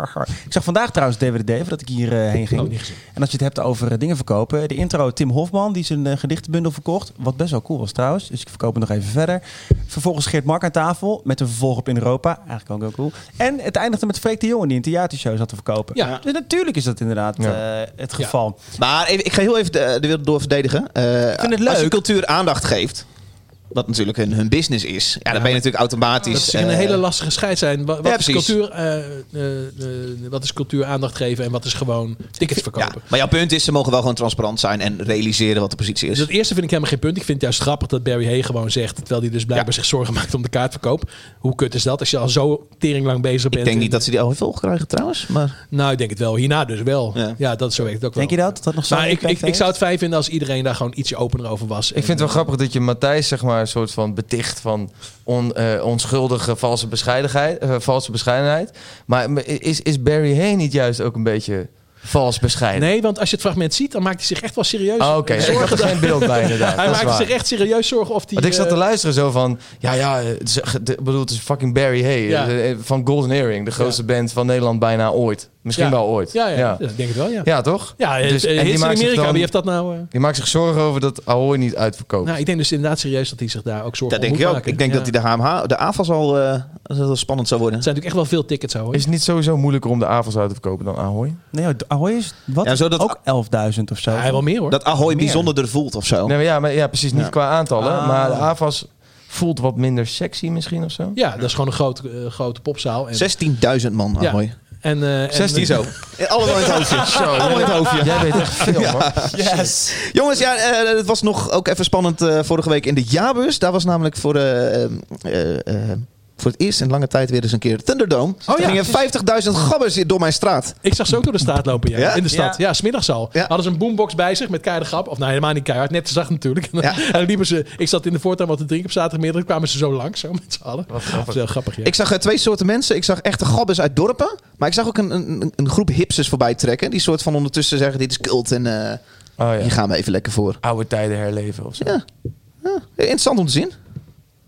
ik zag vandaag trouwens DVD voordat ik hier eh, heen ging. en als je het hebt over eh, dingen verkopen. De intro Tim Hofman, die zijn eh, gedichtenbundel verkocht. Wat best wel cool was trouwens. Dus ik verkoop hem nog even verder. Vervolgens Geert Mark aan tafel. Met een vervolg op in Europa. Eigenlijk ook heel cool. En het eindigde met Freek de Jongen die een theatershow zat te verkopen. Ja. Dus natuurlijk is dat inderdaad Ja. eh, het geval. Maar even- ik ga heel even de, de wereld doorverdedigen. Eh, vind het Als je leuk. cultuur aandacht geeft, wat natuurlijk hun, hun business is, ja, dan ben je natuurlijk automatisch... Dat is een eh, hele lastige scheid zijn. Wa- Wat, ja, is precies. cultuur, eh, eh, eh, wat is cultuur aandacht geven en wat is gewoon tickets ja. verkopen? Maar jouw punt is, ze mogen wel gewoon transparant zijn en realiseren wat de positie is. Dus dat eerste vind ik helemaal geen punt. Ik vind het juist grappig dat Barry Hay gewoon zegt... terwijl hij dus blijkbaar zich zorgen maakt om de kaartverkoop. Hoe kut is dat als je al zo teringlang bezig bent? ik denk en- niet dat ze die al heel veel krijgen trouwens, maar... Nou, ik denk het wel. Hierna dus wel. Ja. Ja, dat zo werkt het ook wel. Denk je dat? Dat dat Nou, nog zo'n Maar ik, impact ik, ik heeft? zou het fijn vinden als iedereen daar gewoon ietsje opener over was. Ik vind het wel grappig dat je Matthijs zeg maar een soort van beticht van on, eh, onschuldige valse bescheidenheid, eh, valse bescheidenheid. Maar m- is, is Barry Hay niet juist ook een beetje vals bescheiden? Nee, want als je het fragment ziet, dan maakt hij zich echt wel serieus Oh, Oké, ik had er geen beeld bij inderdaad. Hij dat is maakt waar. zich echt serieus zorgen of die... Want ik zat te eh, luisteren zo van, ja ja, eh, het is- de- ik bedoel het is fucking Barry Hay Ja. eh, eh, van Golden Earring, de grootste band van Nederland bijna ooit. Misschien ja. wel ooit. Ja, ja, ja. ja, ik denk het wel, ja. Ja, toch? Ja, eh, Dus- eh, en die hits in maakt zich Amerika, dan- wie heeft dat nou... eh? Die maakt zich zorgen over dat Ahoy niet uitverkoopt. Nou, ik denk dus inderdaad serieus dat hij zich daar ook zorgen Dat om denk ik moet ook. maken. Ik denk Ja. dat die de HMH, de AFAS al eh, dat het wel spannend zou worden. Het zijn natuurlijk echt wel veel tickets, hoor. Is het niet sowieso moeilijker om de avonds uit te verkopen dan Ahoy? Nee, joh, Ahoy is wat? Ja, zodat- ook 11.000 of zo. Ja, hij wel meer, hoor. Dat Ahoy Meer. bijzonderder voelt of zo. Nee, maar ja, maar, ja, precies. Niet Ja. qua aantallen. Ah. Maar de AVAS voelt wat minder sexy misschien of zo. Ja, dat is gewoon een groot, eh, grote popzaal. En, 16.000 man, Ja. Ahoy. en, eh, en- 16 Ah, zo. Allemaal in het hoofdje. Allemaal in het hoofdje. Jij weet echt veel, Oh, man. Yes. Jongens, ja, eh, het was nog ook even spannend eh, vorige week in de jaarbus. Daar was namelijk voor, eh, eh, eh, eh, voor het eerst in lange tijd weer eens een keer Thunderdome. ja. er gingen 50.000 gabbers door mijn straat. Ik zag ze ook door de straat lopen, ja. Ja? In de stad. Ja, smiddags al. Ja. Hadden ze een boombox bij zich met keiharde grap. Of nou, helemaal niet keihard. Net te zacht natuurlijk. En dan- Ja. en dan liepen ze... Ik zat in de voortuin wat te drinken op zaterdagmiddag. Dan kwamen ze zo langs, zo met z'n allen. Wat grappig. Dat is heel grappig, ja. Ik zag eh, twee soorten mensen. Ik zag echte gabbers uit dorpen. Maar ik zag ook een, een, een groep hipsters voorbij trekken. Die soort van ondertussen zeggen, dit is cult en eh, Oh hier ja. gaan we even lekker voor. Oude tijden herleven of zo. Ja. Interessant om te zien.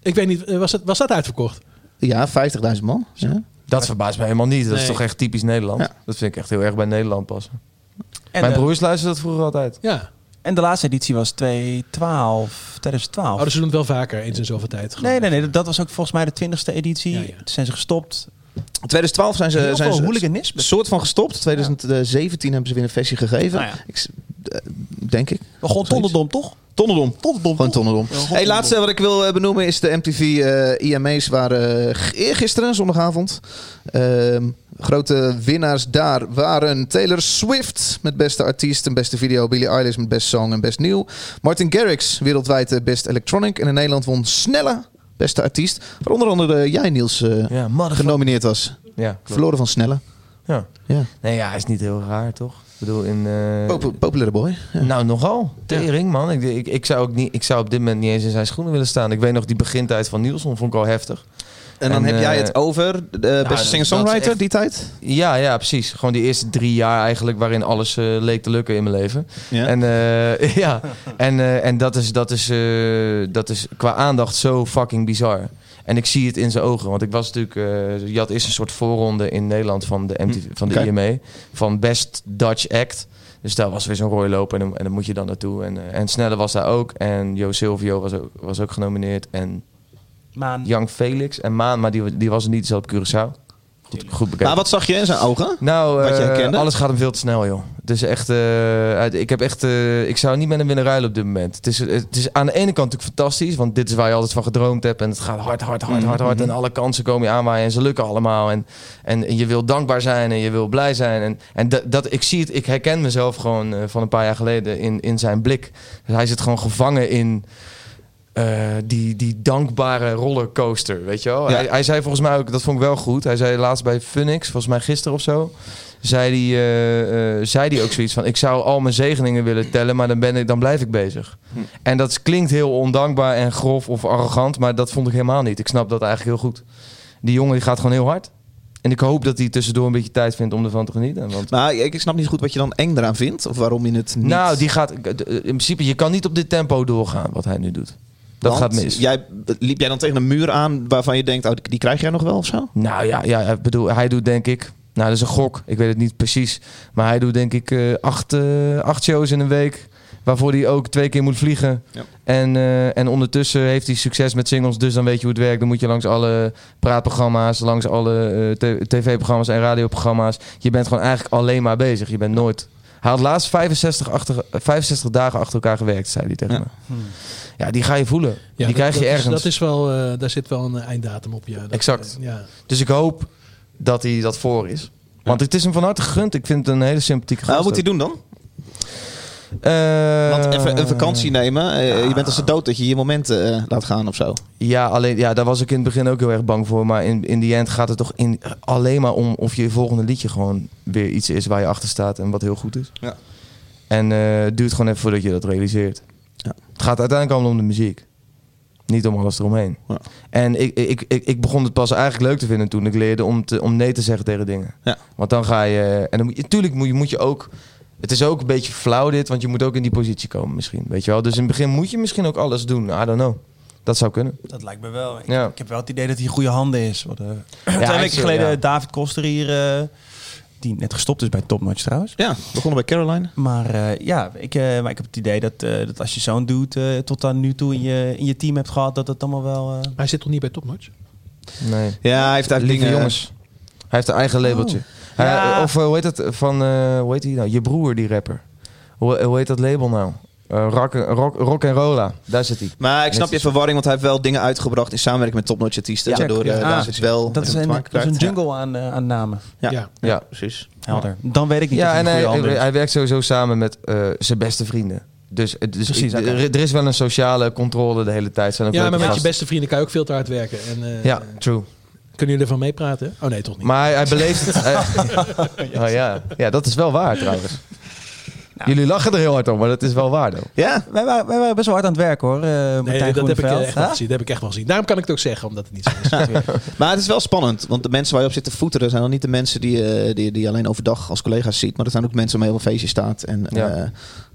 Ik weet niet, eh, was dat, was dat uitverkocht? Ja, 50.000 man. Ja. Dat verbaast mij helemaal niet. Dat is Nee. toch echt typisch Nederland. Ja. Dat vind ik echt heel erg bij Nederland passen. En, eh, Mijn de- broers luisterden dat vroeger altijd. Ja. en de laatste editie was 2012. Oh, 2012. dus ze doen het wel vaker, eens in zoveel tijd. Gewoon. nee, nee, nee. dat- Dat was ook volgens mij de 20ste editie. Ja, ja. Toen zijn ze gestopt. 2012 zijn ze, Heel zijn veel ze hooliganisme. soort van gestopt. 2017 hebben ze weer een versie gegeven. Nou ja. Ik s- eh, denk ik. Gewoon tonderdom, toch? Tonnendom. Tonderdom. Gewoon tonnendom. hey, laatste wat ik wil eh, benoemen is de MTV eh, IMA's waren eh, g- eergisteren, zondagavond. Ehm, grote winnaars daar waren Taylor Swift met beste artiest en beste video. Billie Eilish met best song en best nieuw. Martin Garrix wereldwijd eh, best electronic. En in Nederland won Snelle beste artiest. Waar onder andere eh, jij Niels eh, Ja, motherfucker. genomineerd was. Ja, klopt. Verloren van Snelle. ja. Ja. Nee, ja, is niet heel raar, toch? Ik bedoel, in... eh, Popu- populaire boy. Nou, nogal. Tering, man. Ik, ik, ik, zou ook niet, ik zou op dit moment niet eens in zijn schoenen willen staan. Ik weet nog, die begintijd van Nielsen vond ik al heftig. En dan En, heb jij eh, het over de beste dat is singer-songwriter echt- die tijd? Ja, ja, precies. Gewoon die eerste drie jaar eigenlijk waarin alles eh, leek te lukken in mijn leven. Ja. En, eh, ja. en, eh, en dat, is, dat, is, eh, dat is qua aandacht zo fucking bizar. En ik zie het in zijn ogen. Want ik was natuurlijk... eh, je had eerst een soort voorronde in Nederland van de, MTV, van de Hm, Oké. IMA. Van Best Dutch Act. Dus daar was weer zo'n rooiloop en, dan- en dan moet je dan naartoe. En, eh, en Snelle was daar ook. En Jo Silvio was ook, was ook genomineerd. En Maan. Young Felix en Maan, maar die, die was er niet, die zat op Curaçao. Goed, goed bekeken. Maar Nou, wat zag je in zijn ogen? Nou, Wat je eh, herkende? alles gaat hem veel te snel, joh. Het is echt, eh, uit- ik heb echt, eh, ik zou niet met hem willen ruilen op dit moment. Het is, het is aan de ene kant natuurlijk fantastisch, want dit is waar je altijd van gedroomd hebt en het gaat hard, hard, hard, hard, hard en alle kansen komen je aanwaaien en ze lukken allemaal en, en, en je wil dankbaar zijn en je wil blij zijn en, en dat, dat ik zie het, ik herken mezelf gewoon eh, van een paar jaar geleden in, in zijn blik. Dus hij zit gewoon gevangen in eh, eh, die, die dankbare rollercoaster, weet je wel. Ja. Hij, hij zei volgens mij ook, dat vond ik wel goed. Hij zei laatst bij Funix, volgens mij gisteren of zo, zei hij eh, eh, zei die ook zoiets van... ik zou al mijn zegeningen willen tellen, maar dan, ben ik, dan blijf ik bezig. Hm. En dat klinkt heel ondankbaar en grof of arrogant, maar dat vond ik helemaal niet. Ik snap dat eigenlijk heel goed. Die jongen die gaat gewoon heel hard. En ik hoop dat hij tussendoor een beetje tijd vindt om ervan te genieten. Want Maar Nou, ik, ik snap niet zo goed wat je dan eng eraan vindt. Of waarom je het niet... nou, die gaat. In principe, je kan niet op dit tempo doorgaan wat hij nu doet. Dat Want gaat mis. Jij, liep jij dan tegen een muur aan waarvan je denkt, oh, die, die krijg jij nog wel of zo? Nou ja, ja, ik bedoel, hij doet denk ik. Nou, dat is een gok. Ik weet het niet precies. Maar hij doet denk ik eh, acht, eh, acht shows in een week. Waarvoor hij ook twee keer moet vliegen. Ja. En, eh, en ondertussen heeft hij succes met singles. Dus dan weet je hoe het werkt. Dan moet je langs alle praatprogramma's, langs alle eh, t- tv-programma's en radioprogramma's. Je bent gewoon eigenlijk alleen maar bezig. Je bent nooit. Hij had laatst 65, achter, 65 dagen achter elkaar gewerkt, zei hij tegen Ja. me. Ja, die ga je voelen. die dat- krijg je dat is- ergens. dat is wel, eh, daar zit wel een eh, einddatum op. Ja. Dat, Exact. eh, ja. Dus ik hoop dat hij dat voor is. Want het is hem van harte gegund. Ik vind het een hele sympathieke Nou, gast. wat moet hij doen dan? Eh, Want even een vakantie nemen, eh, je bent als de dood dat je je momenten eh, laat gaan of zo. Ja, alleen, ja, daar was ik in het begin ook heel erg bang voor. Maar in, in die end gaat het toch in, alleen maar om of je volgende liedje gewoon weer iets is waar je achter staat en wat heel goed is. Ja. En eh, het duurt gewoon even voordat je dat realiseert. Ja. Het gaat uiteindelijk allemaal om de muziek. Niet om alles eromheen. Ja. En ik, ik, ik, ik begon het pas eigenlijk leuk te vinden toen ik leerde om, te, om nee te zeggen tegen dingen. Ja. Want dan ga je... En dan moet je, natuurlijk moet je, moet je ook... Het is ook een beetje flauw dit, want je moet ook in die positie komen misschien. Weet je wel? Dus in het begin moet je misschien ook alles doen. I don't know. Dat zou kunnen. Dat lijkt me wel. Ik, Ja. ik heb wel het idee dat hij in goede handen is. Wat, eh, twee hij weken is, eh, geleden ja. David Koster hier, eh, die net gestopt is bij Top Notch trouwens. Ja, we begonnen bij Caroline. Maar eh, ja, ik, eh, maar ik heb het idee dat, eh, dat als je zo'n dude eh, tot aan nu toe in je, in je team hebt gehad, dat het allemaal wel... eh, Maar hij zit toch niet bij Topmatch? Nee. Ja, hij heeft eigenlijk Lieve dingen... jongens. Hij heeft een eigen labeltje. Hij- Oh. Ja. Of eh, hoe heet dat? Van, eh, hoe heet die nou? Je broer, die rapper. Hoe, hoe heet dat label nou? Eh, rock, rock, rock and Rolla. Daar zit hij. Maar ik snap Netjes. je verwarring, want hij heeft wel dingen uitgebracht in samenwerking met topnotch artiesten. Ja. waardoor eh, Check. daar Ah, zit wel dat, is mee te een, maken dat is een krijgt. jungle aan, eh, aan namen. Ja. Ja. Ja, precies. Helder. Dan weet ik niet Ja, of en hij hij, in goede handen is. hij werkt sowieso samen met eh, zijn beste vrienden. Dus, eh, dus Precies, ik- oké. er, er is wel een sociale controle de hele tijd. Zijn ook Ja, leuke maar met je gasten. beste vrienden kan je ook veel te hard werken. En, eh, Ja, true. Kunnen jullie ervan meepraten? Oh nee, toch niet. Maar hij, hij beleeft het. hij- oh, ja. ja, dat is wel waar trouwens. Nou. Jullie lachen er heel hard om, maar dat is wel waar. Though. Ja, Wij waren, wij waren best wel hard aan het werk hoor, eh, Martijn nee, dat heb, ik, eh, Groeneveld. echt wel Huh? gezien, dat heb ik echt wel gezien. Daarom kan ik het ook zeggen, omdat het niet zo is. maar het is wel spannend. Want de mensen waar je op zit te voeteren zijn dan niet de mensen die, eh, die, die je alleen overdag als collega's ziet. Maar dat zijn ook mensen waarmee je op een feestje staat. En, Ja.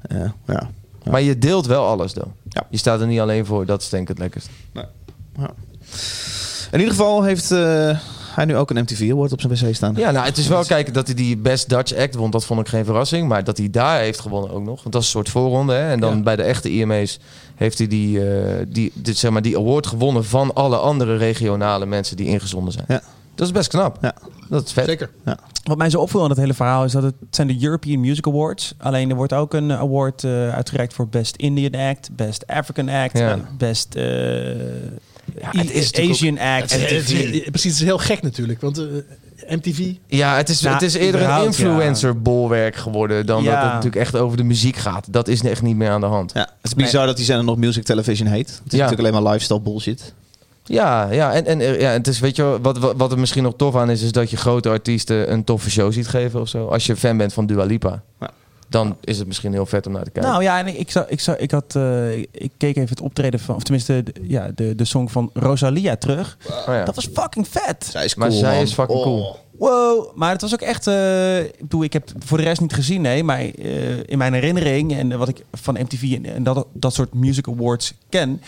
ja. ja. Maar je deelt wel alles, though. Ja. Je staat er niet alleen voor. Dat is denk ik het lekkerst. In ieder geval heeft eh, hij nu ook een MTV Award op zijn wc staan. Ja, nou, het is wel kijken dat hij die Best Dutch Act won. Dat vond ik geen verrassing. Maar dat hij daar heeft gewonnen ook nog. Want dat is een soort voorronde. Hè? En dan Ja. bij de echte IMA's heeft hij die, eh, die, dit, zeg maar, die award gewonnen van alle andere regionale mensen die ingezonden zijn. Ja. Dat is best knap. Ja. Dat is vet. Zeker. Wat mij zo opviel aan het hele verhaal is dat het, het zijn de European Music Awards. Alleen er wordt ook een eh, award eh, uitgereikt voor Best Indian Act, Best African Act, Ja. Best eh, het is natuurlijk Asian Act. Het is- MTV. het is- eh, Precies, het is heel gek natuurlijk. Want eh, MTV, Ja, het is, Nou, het is eerder een überhaupt, ja. influencer-bolwerk geworden dan Ja. dat het natuurlijk echt over de muziek gaat. Dat is echt niet meer aan de hand. Ja, het is bizar dat die zender nog Music Television heet. Het is Ja. natuurlijk alleen maar lifestyle bullshit. Ja, ja en, en eh, ja, het is, weet je, wel, wat, wat, wat er misschien nog tof aan is, is dat je grote artiesten een toffe show ziet geven of zo. Als je fan bent van Dua Lipa, Ja. dan is het misschien heel vet om naar te kijken. Nou ja, en ik, ik, zou- ik, zou- ik, had, eh, ik keek even het optreden van, of tenminste de- ja, de, de song van Rosalia terug. Oh ja. Dat was fucking vet. Zij is cool, Maar zij man. Oh. is fucking cool. Wow, maar het was ook echt. eh, ik bedoel, ik heb voor de rest niet gezien, nee, maar eh, in mijn herinnering en wat ik van MTV en, en dat, dat soort music awards ken,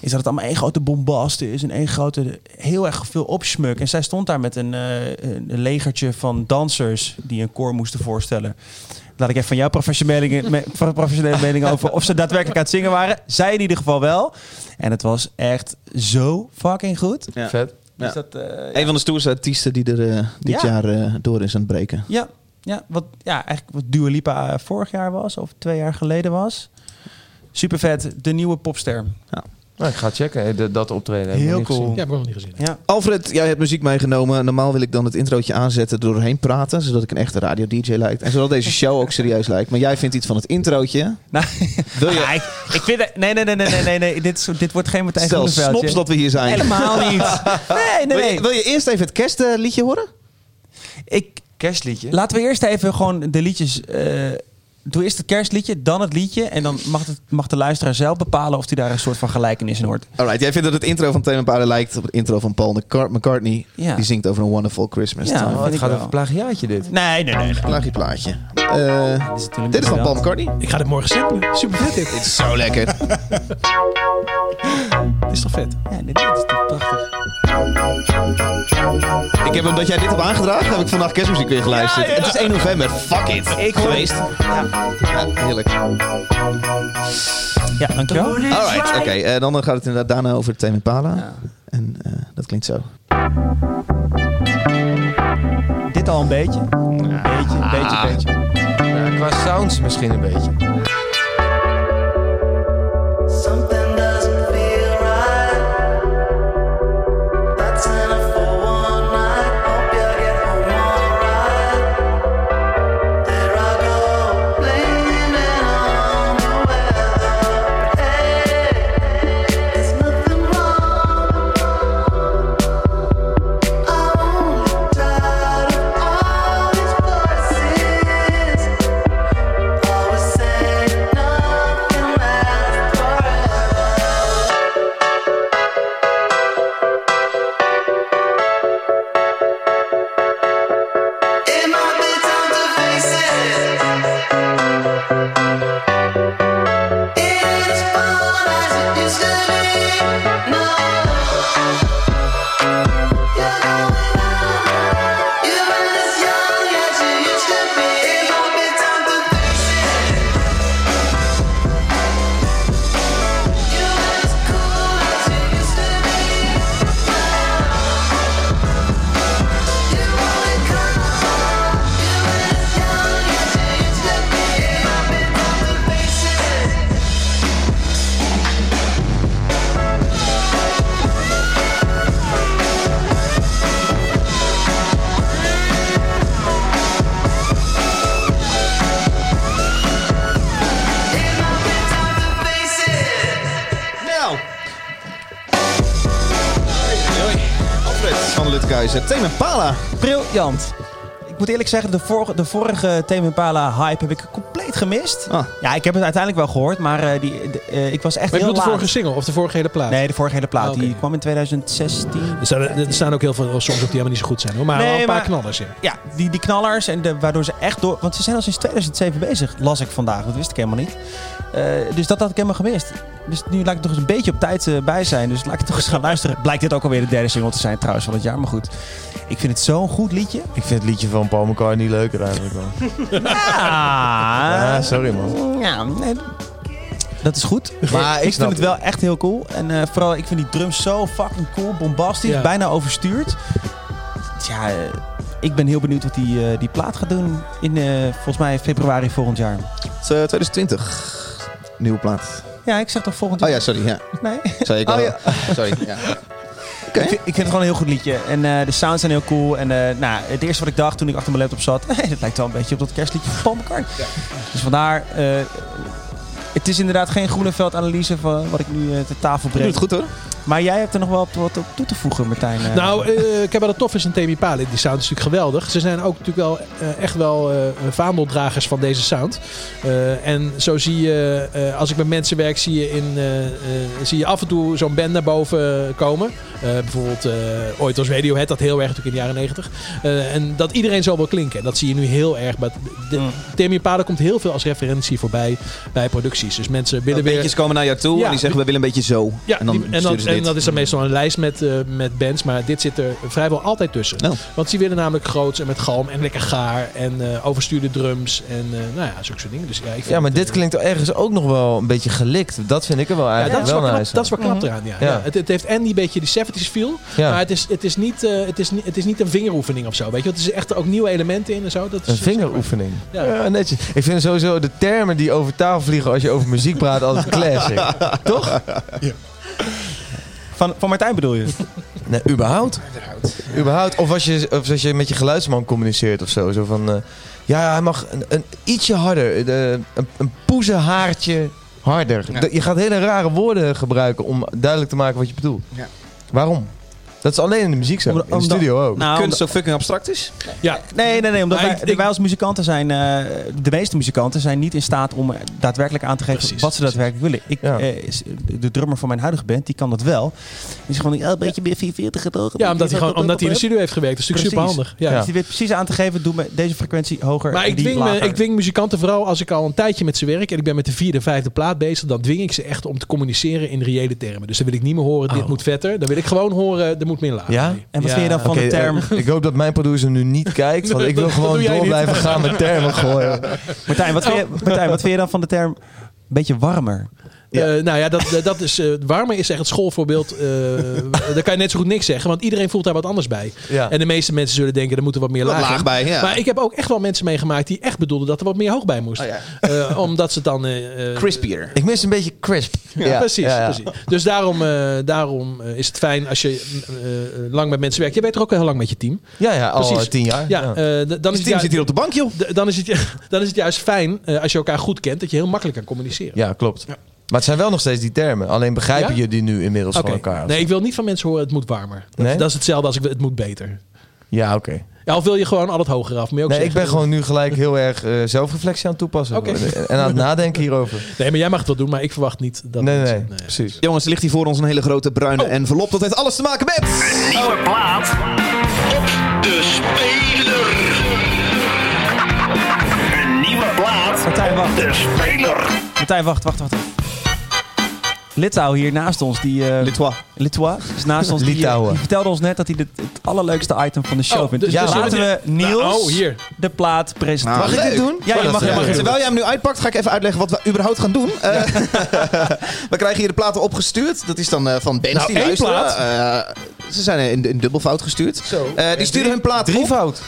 is dat het allemaal één grote bombast is en één grote, heel erg veel opsmuk. En zij stond daar met een, eh, een legertje van dansers die een koor moesten voorstellen. Laat ik even van jouw professionele mening, me- van professionele mening over of ze daadwerkelijk aan het zingen waren. Zij in ieder geval wel. En het was echt zo fucking goed. Ja. Vet. Dus dat, eh, Een van de stoerste artiesten die er eh, dit Ja. jaar eh, door is aan het breken. Ja, ja, wat, ja eigenlijk wat Dua Lipa eh, vorig jaar was of twee jaar geleden was. Super vet, de nieuwe popster. Ja. Nou, ik ga checken. eh, de- dat optreden. heb ik Heel nog niet cool. gezien. Ja, heb ik nog niet gezien. Alfred, jij hebt muziek meegenomen. Normaal wil ik dan het introotje aanzetten door doorheen praten, zodat ik een echte radio-dj lijkt. En zodat deze show ook serieus lijkt. Maar jij vindt iets van het introotje. Nou, Wil je ah, ik, ik vind het- nee, nee, nee, nee, nee, nee, nee. Dit, is- dit wordt geen Martijn stel Groeneveldje. snops dat we hier zijn? Helemaal niet. Nee, nee, Wil je, nee. wil je eerst even het kerstliedje horen? Ik, Kerstliedje. laten we eerst even gewoon de liedjes... eh, doe eerst het kerstliedje, dan het liedje. En dan mag, het, mag de luisteraar zelf bepalen of hij daar een soort van gelijkenis in hoort. Alright, jij vindt dat het intro van Thema Paarden lijkt op het intro van Paul McCart- McCartney. Ja. Die zingt over een Wonderful Christmas Ja. Time. Oh, vind het ik gaat wel. over plagiaatje dit. Nee, nee, nee. nee. Plaagje plaatje. Eh, Dit is natuurlijk dit is van wel- Paul McCartney. Ik ga dit morgen samplen. Super vet dit. Dit is zo lekker. Dit is toch vet? Ja, dit dit is toch prachtig. ik heb, omdat jij dit hebt aangedragen, heb ik vandaag kerstmuziek weer geluisterd. Het is 1 november. Fuck it. Ik hoor- Geweest. Ja, heerlijk. Ja, dankjewel. Alright, oké. eh, dan gaat het inderdaad daarna over Tame Impala. En eh, dat klinkt zo. Dit al een beetje. Een beetje, een beetje, een beetje. Ja, qua sounds misschien een beetje. Something doesn't feel right. That's enough for one night. Hope you get home alright. There I go, blaming on the weather. But hey, there's nothing wrong. I'm only tired of all these voices. Always saying nothing lasts forever. It might be time to face it. It ain't as fun as it used to be. No, you're going out. You ain't as young as you used to be. It might be time to face it. You ain't as cool as you used to be. You only come on. You ain't as young as you used to be. It might be time to face it. It might be time to face it. Nou. Hoi. Alfred van Lutkuizen. Tame Impala. Briljant. Ik moet eerlijk zeggen, de vorige, de vorige Tame Impala hype heb ik compleet gemist. Ah. Ja, ik heb het uiteindelijk wel gehoord, maar eh, die, de- eh, ik was echt Maar ik heel bedoel de laat. vorige single of de vorige hele plaat. Nee, de vorige hele plaat. Ah, oké. Dus- Die kwam in 2016. Er staan, er staan ook heel veel songs op die helemaal niet zo goed zijn. Hoor. Maar Nee, wel een paar maar- knallers, ja. Ja, die, die knallers en de, waardoor ze echt door... Want ze zijn al sinds 2007 bezig, las ik vandaag. Dat wist ik helemaal niet. Eh, dus dat had ik helemaal gemist. Dus nu laat ik toch eens een beetje op tijd eh, bij zijn. Dus laat ik toch eens gaan luisteren. Blijkt dit ook alweer de derde single te zijn trouwens van het jaar. Maar goed, ik vind het zo'n goed liedje. Ik vind het liedje van Paul McCartney leuker eigenlijk wel. Ja, Ah, sorry man. ja nee. Dat is goed. Maar Maar ik ik, snap vind het het. wel echt heel cool. En eh, vooral, ik vind die drums zo fucking cool, bombastisch, Ja. bijna overstuurd. Ja, eh, ik ben heel benieuwd wat die, eh, die plaat gaat doen in eh, volgens mij februari volgend jaar. Het is, eh, 2020. Nieuwe plaat. Ja, ik zeg toch volgend Oh jaar? ja, sorry. Ja. Nee? Zei ik al. Oh ja. Sorry. Ja. Ik, vind, ik vind het gewoon een heel goed liedje. En eh, de sounds zijn heel cool. En eh, nou, het eerste wat ik dacht toen ik achter mijn laptop zat... Hey, dat lijkt wel een beetje op dat kerstliedje van Paul McCartney. Dus vandaar... eh, het is inderdaad geen Groeneveld-analyse van wat ik nu eh, ter Je tafel doet breng. het goed hoor. Maar jij hebt er nog wel op- wat op toe te voegen, Martijn. eh. Nou, eh, ik heb wel dat tof is aan Temi Pali. Die sound is natuurlijk geweldig. Ze zijn ook natuurlijk wel eh, echt wel eh, vaandeldragers van deze sound. Eh, en zo zie je, eh, als ik met mensen werk, zie je, in, eh, eh, zie je af en toe zo'n band naar boven komen. Eh, bijvoorbeeld eh, ooit was Radiohead, dat heel erg natuurlijk in de jaren negentig. Eh, en dat iedereen zo wil klinken. En dat zie je nu heel erg. Maar de, Mm. Temi Impala komt heel veel als referentie voorbij bij producties. Dus mensen willen weer... Beentjes komen naar jou toe Ja. en die zeggen we willen een beetje zo. Ja, en dan die- en, dan, sturen ze en dit. dat is dan meestal een lijst met, eh, met bands, maar dit zit er vrijwel altijd tussen. Oh. Nou. Want die willen namelijk groots en met galm en lekker gaar en eh, overstuurde drums en eh, nou ja, zulke soort dingen. Dus, ja, ik vind Ja, maar het, dit eh, klinkt ergens ook nog wel een beetje gelikt. Dat vind ik er wel ja, dat, eigenlijk is wel wel knap, nice. dat is wel knap Mhm. eraan, ja. Ja. Ja, het, het heeft en die beetje die 70s feel, Ja. maar het is, het, is niet, eh, het, is, niet- het is niet een vingeroefening of zo. Weet je, want er zitten echt ook nieuwe elementen in en zo. Dat is, Een vingeroefening. Ja. Ja. netjes. Ik vind sowieso de termen die over tafel vliegen als je over muziek praat altijd classic. Toch? Van, van Martijn bedoel je? Nee, überhaupt. Überhaupt. Of als, je, of als je met je geluidsman communiceert of zo. Zo van, eh, ja, hij mag een, een ietsje harder. eh, een, een poezenhaartje harder. Dat- Je gaat hele rare woorden gebruiken om duidelijk te maken wat je bedoelt. Ja. Waarom? Dat is alleen in de muziek zo. Om- in de omdat- studio ook. Nou, Kunst zo fucking abstract is. Ja, Nee, nee, nee. Omdat Maar wij, ik- ik- wij als muzikanten zijn, eh, de meeste muzikanten zijn niet in staat om eh, daadwerkelijk aan te geven Precies, wat ze daadwerkelijk willen. Ik, Ja. eh, is- de drummer van mijn huidige band, die kan dat wel. Die is gewoon, ja, een beetje meer 440 gedogen. ja omdat, hij gewoon, omdat hij in de studio heeft gewerkt. Dat is natuurlijk Precies. superhandig. Ja. Dus die weet precies aan te geven, doe me deze frequentie hoger Maar en ik die dwing, me- lager. ik dwing muzikanten vooral als ik al een tijdje met ze werk en ik ben met de vierde, vijfde plaat bezig, dan dwing ik ze echt om te communiceren in reële termen. Dus dan wil ik niet meer horen, dit moet vetter. Dan wil ik gewoon horen, er moet meer laag. Ja? En wat Ja. vind je dan van Oké, de term? eh, ik hoop dat mijn producer nu niet kijkt, want ik wil Dat gewoon doe jij door niet. blijven gaan met termen gooien. Martijn, wat vind je, Oh. Martijn, wat vind je dan van de term beetje warmer? Eh, nou ja, dat, dat is, eh warmer is echt het schoolvoorbeeld. eh daar kan je net zo goed niks zeggen, want iedereen voelt daar wat anders bij. Ja. En de meeste mensen zullen denken, er moet er wat meer Wat laag, laag in. bij, ja. Maar ik heb ook echt wel mensen meegemaakt die echt bedoelden dat er wat meer hoog bij moest. Oh ja. Eh, omdat ze het dan... eh, eh, Crispier. Ik mis een beetje crisp. Ja, precies, ja, ja. precies. Dus daarom, eh, daarom eh, is het fijn als je eh, eh, lang met mensen werkt. Je bent er ook al heel lang met je team. Ja, ja, Dus al Precies. eh, tien jaar. Ja, eh, d- dan, is Het het team ju- zit hier op de bank, joh. d- dan, is het, ju- dan is het juist fijn eh, als je elkaar goed kent, dat je heel makkelijk kan communiceren. Ja, klopt. Maar het zijn wel nog steeds die termen. Alleen begrijpen Ja? jullie nu inmiddels Oké. van elkaar. Nee, ik wil niet van mensen horen, het moet warmer. Dat, Nee? dat is hetzelfde als ik wil, het moet beter. Ja, oké. Ja, of wil je gewoon al het hoger af? Moet je ook Nee, ik zeggen. ben gewoon nu gelijk heel erg eh, zelfreflectie aan het toepassen. Oké. En aan het nadenken hierover. Nee, maar jij mag het wel doen, maar ik verwacht niet dat Nee, nee, mensen- nee, precies. Jongens, er ligt hier voor ons een hele grote bruine Oh. envelop. Dat heeft alles te maken met... Nieuwe plaat op de speler. Een nieuwe plaat Martijn, op wacht. de speler. Martijn, wacht, wacht, wacht. Litouw hier naast ons, die... eh, Litois. Litois is naast ons. die, eh, Litouwen. Die vertelde ons net dat hij dit, het allerleukste item van de show Oh, vindt. Dus dus we laten we zullen- Niels Nou, oh, hier. de plaat presenteren. Nou, Mag ik dit leuk. doen? Ja, je mag- je mag- ja. Terwijl jij hem nu uitpakt, ga ik even uitleggen wat we überhaupt gaan doen. Eh, we krijgen hier de platen opgestuurd. Dat is dan eh, van bands Nou, die één luisteren. plaat? Eh, ze zijn in, in dubbelfout gestuurd. Eh, die sturen hun plaat op. Drievoud.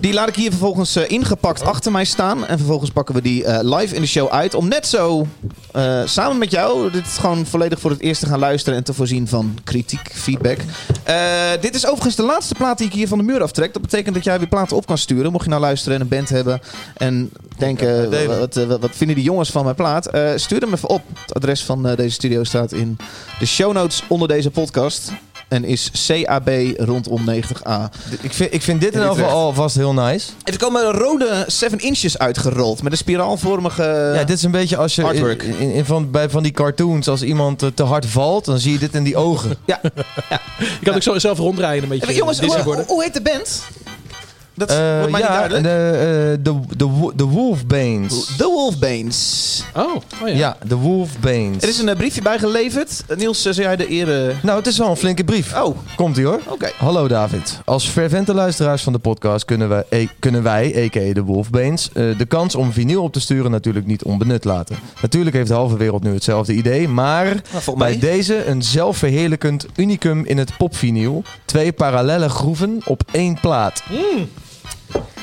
Die laat ik hier vervolgens eh, ingepakt achter mij staan. En vervolgens pakken we die eh, live in de show uit. Om net zo eh, samen met jou dit gewoon volledig voor het eerst te gaan luisteren. En te voorzien van kritiek, feedback. Eh, dit is overigens de laatste plaat die ik hier van de muur aftrek. Dat betekent dat jij weer platen op kan sturen. Mocht je nou luisteren en een band hebben. En denken, delen. wat, eh, wat, wat vinden die jongens van mijn plaat? Eh, stuur hem even op. Het adres van eh, deze studio staat in de show notes onder deze podcast. En is CAB rondom 90A. Ik vind, ik vind dit in ieder In geval Utrecht. alvast heel nice. En er komen rode 7 inches uitgerold met een spiraalvormige. ja, dit is een beetje als je in, artwork. in- in van, bij van die cartoons, als iemand eh, te hard valt, dan zie je dit in die ogen. Je kan ook zo zelf rondrijden een beetje. Eh, jongens, Disney hoe, worden. hoe- hoe heet de band? Dat Eh, wordt mij niet ja, de, duidelijk. eh, de, de, wo- de Wolfbanes. The Wolfbanes. Oh, oh ja. Ja, de Wolfbanes. Er is een eh, briefje bijgeleverd. Eh, Niels, eh, zou jij de eer... eh, Nou, het is wel een flinke brief. Oh, oké. Komt ie hoor. Hallo David. Als fervente luisteraars van de podcast kunnen wij, e- kunnen wij a.k.a. de Wolfbanes, eh, de kans om vinyl op te sturen natuurlijk niet onbenut laten. Natuurlijk heeft de halve wereld nu hetzelfde idee, maar Nou, volgens bij mij. deze een zelfverheerlijkend unicum in het popvinyl. Twee parallele groeven op één plaat.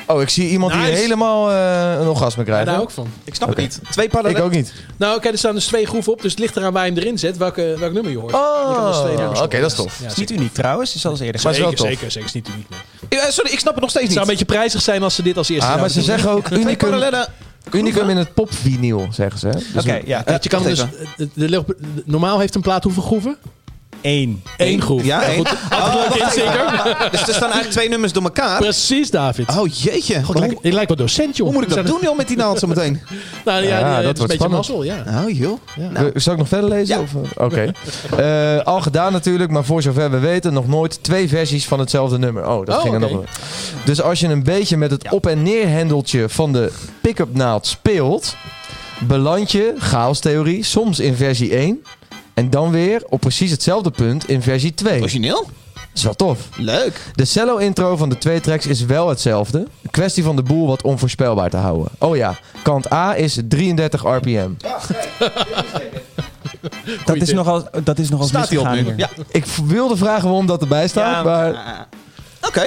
Oh, ik zie iemand die Nice. helemaal eh, een orgasme Ja, krijgt. daar hoor. ook van. Ik snap Oké. het niet. Twee parallellen. Ik ook niet. Nou, oké, er staan dus twee groeven op, dus het ligt eraan waar je hem erin zet, welke, welk nummer je hoort. Je kan dus Oh, twee nummers oké, op- dat is tof. Ja, is niet uniek trouwens, is al eens eerder. Maar is wel zeker, tof. zeker, zeker. Is niet uniek. nee. Het Eh, sorry, ik snap het nog steeds zou niet. een beetje prijzig zijn als ze dit als eerste Ah, maar ze zouden zeggen ook Twee unicum, parallellen. unicum in het popvinyl, zeggen ze. hè? Dus Oké, ja. doen. Want je kan Eh, Wacht dus, de, de- de- normaal heeft een plaat hoeveel groeven? Eén. Eén groef. Ja, één. Oh, goed. Had ik zeker. Dus er staan eigenlijk twee nummers door elkaar. Precies, David. Oh, jeetje. God, ik, Maar lijk, ik lijk wel docent, joh. Hoe moet ik dat doen, joh, met die naald zo meteen? Nou, ja, Ja, ja, dat dat is een wordt beetje spannend. mazzel, ja. Oh, joh. Nou. Zal ik nog verder lezen? Ja. Of, eh, Oké. Eh, al gedaan natuurlijk, maar voor zover we weten nog nooit twee versies van hetzelfde nummer. Oh, dat Oh, ging er oké. nog wel. Dus als je een beetje met het op- en neerhendeltje van de pick-up naald speelt, beland je, chaostheorie, soms in versie 1 en dan weer op precies hetzelfde punt in versie 2. Dat Origineel? is wel tof. Leuk. De cello-intro van de twee tracks is wel hetzelfde. Kwestie van de boel wat onvoorspelbaar te houden. Oh ja, kant A is 33 RPM. Dat is, tip. nogal, dat is nogal Staat hij op misgegaan nu? hier. Ja. Ik v- wilde vragen waarom dat erbij staat, Ja, maar Oké.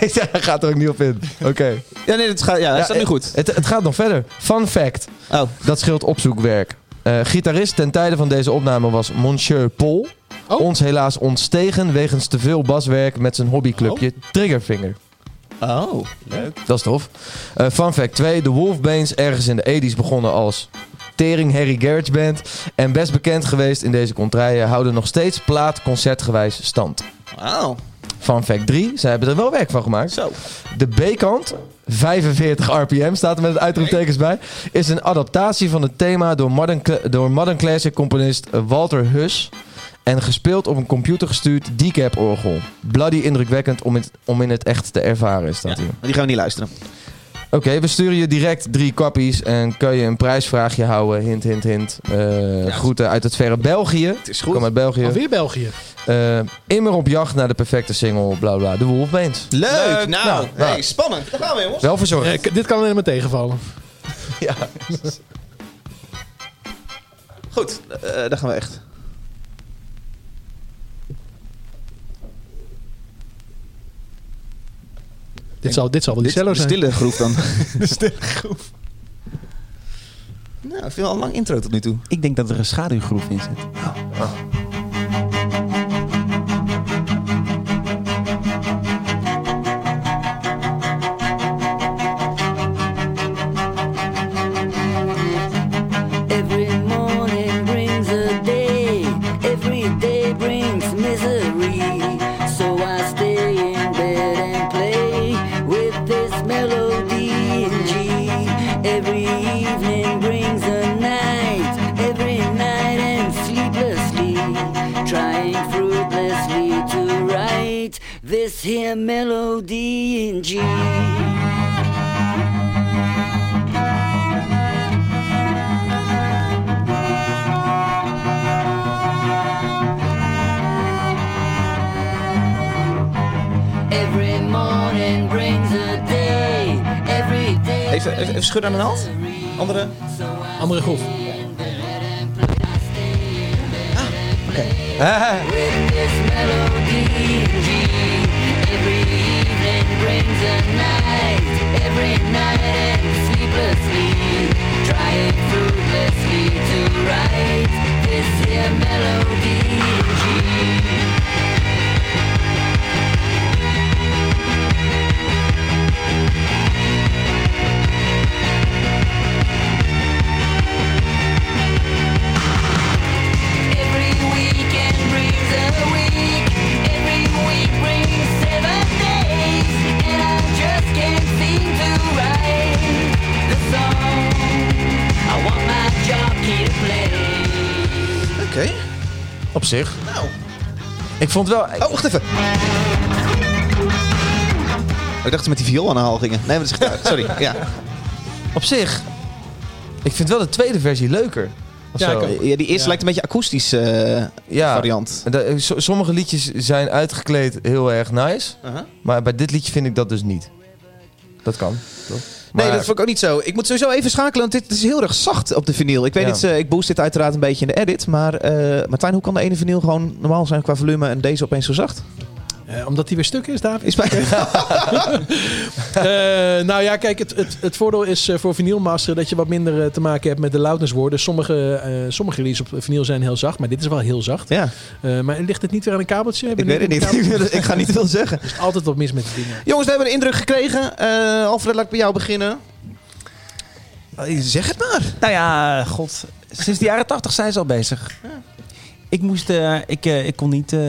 ja, hij gaat er ook niet op in. Oké. Ja, nee, dat gaat, ja, eh, dat staat nu goed. Het, het gaat nog verder. Fun fact. Oh. Dat scheelt opzoekwerk. Eh, gitarist ten tijde van deze opname was Monsieur Paul. Ons helaas ontstegen wegens te veel baswerk met zijn hobbyclubje Triggerfinger. Oh, leuk. Dat is tof. Eh fun fact 2. De Wolfbanes ergens in de 80s begonnen als Tering Harry Garage Band. En best bekend geweest in deze contraien houden nog steeds plaat concertgewijs stand. Wauw. Fun fact 3. Zij hebben er wel werk van gemaakt. Zo. De B-kant, 45 RPM staat er met het uitroeptekens bij, is een adaptatie van het thema door modern, cla- door modern classic componist eh, Walter Hus. En gespeeld op een computergestuurd decap-orgel. Bloody indrukwekkend om, het, om in het echt te ervaren, staat hier. Maar die gaan we niet luisteren. Oké, we sturen je direct drie kappies en kun je een prijsvraagje houden. Hint, hint, hint. Eh, Groeten uit het verre België. Het is goed. Kom uit België. Alweer België. Eh, immer op jacht naar de perfecte single, bla bla. De Wolfbeens. Leuk. Leuk. Nou, Nou, hey, nou. spannend. Daar gaan we, jongens. Wel verzorgd. Eh, k- dit kan alleen maar tegenvallen. Ja. Goed, eh, daar gaan we echt. Dit zal, dit zal wel die Dit cello een zijn. stille groef dan. De stille groef. nou, ik vind wel een lang intro tot nu toe. Ik denk dat er een schaduwgroef in zit. Every morning brings a day, every day brings misery. So I stay in bed and play with this melody in G. Every evening brings a night, every night and sleeplessly, trying fruitlessly to write this here melody in G. Every morning brings a day. Every day. Even, even, even schudden aan mijn hand. Andere. Andere groef. With this melody in G. Every evening brings a night. Every night and sleeplessly. Trying fruitlessly to write this here melody in G. Every weekend brings a week. Every week brings seven days. And I just can't seem to write the song. I want my jockey to play. Oké. Op zich. Nou. Ik vond wel... Oh, wacht even. Oh, ik dacht dat ze met die viool aan de haal gingen. Nee, maar dat is gitaar. Sorry. Ja. Op zich. Ik vind wel de tweede versie leuker. Of Ja, zo. ik ook. ja, die eerste lijkt een beetje akoestisch eh, Ja. variant. En da- so- sommige liedjes zijn uitgekleed heel erg nice. Aha. Maar bij dit liedje vind ik dat dus niet. Dat kan. Toch? Nee, Maar- dat vond ik ook niet zo. Ik moet sowieso even schakelen, want dit is heel erg zacht op de vinyl. Ik weet Ja. niet, eh, ik boost dit uiteraard een beetje in de edit. Maar eh Martijn, hoe kan de ene vinyl gewoon normaal zijn qua volume en deze opeens zo zacht? Eh, omdat die weer stuk is, David. Is bij... Eh, nou ja, kijk, het, het, het voordeel is eh, voor vinylmaster dat je wat minder eh, te maken hebt met de loudness woorden. Sommige, eh sommige releases op vinyl zijn heel zacht, maar dit is wel heel zacht. ja, Eh, maar ligt het niet weer aan een kabeltje? ik weet het niet. ik ga niet veel zeggen. Er is altijd wat mis met die dingen. Jongens, we hebben een indruk gekregen. Eh, Alfred, laat ik bij jou beginnen. Eh, Zeg het maar. Nou ja, god. Sinds de jaren tachtig zijn ze al bezig. Ik, moest, eh, ik, eh, ik kon niet eh,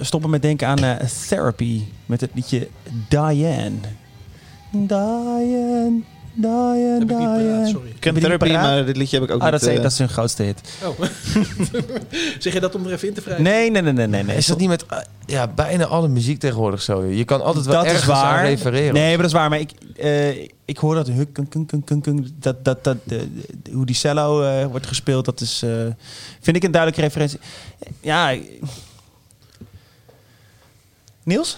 stoppen met denken aan eh, Therapy. Met het liedje Diane. Diane, Diane, Heb ik niet paraat, Diane. sorry. Ik ken Heb je die Therapy, paraat? maar dit liedje heb ik ook Ah, niet. dat, is- eh, dat is hun grootste hit. Oh. zeg je dat om er even in te vragen? Nee, nee, nee, nee. nee, nee. Is dat niet met eh, ja, bijna alle muziek tegenwoordig zo? joh? Je kan altijd wel ergens aan refereren. Nee, maar dat is waar. Maar ik, eh, ik hoor dat, huk, kunk, kunk, kunk, kunk, kunk, dat, dat, dat eh, hoe die cello eh, wordt gespeeld, dat is, eh, vind ik een duidelijke referentie. Ja. eh, Niels?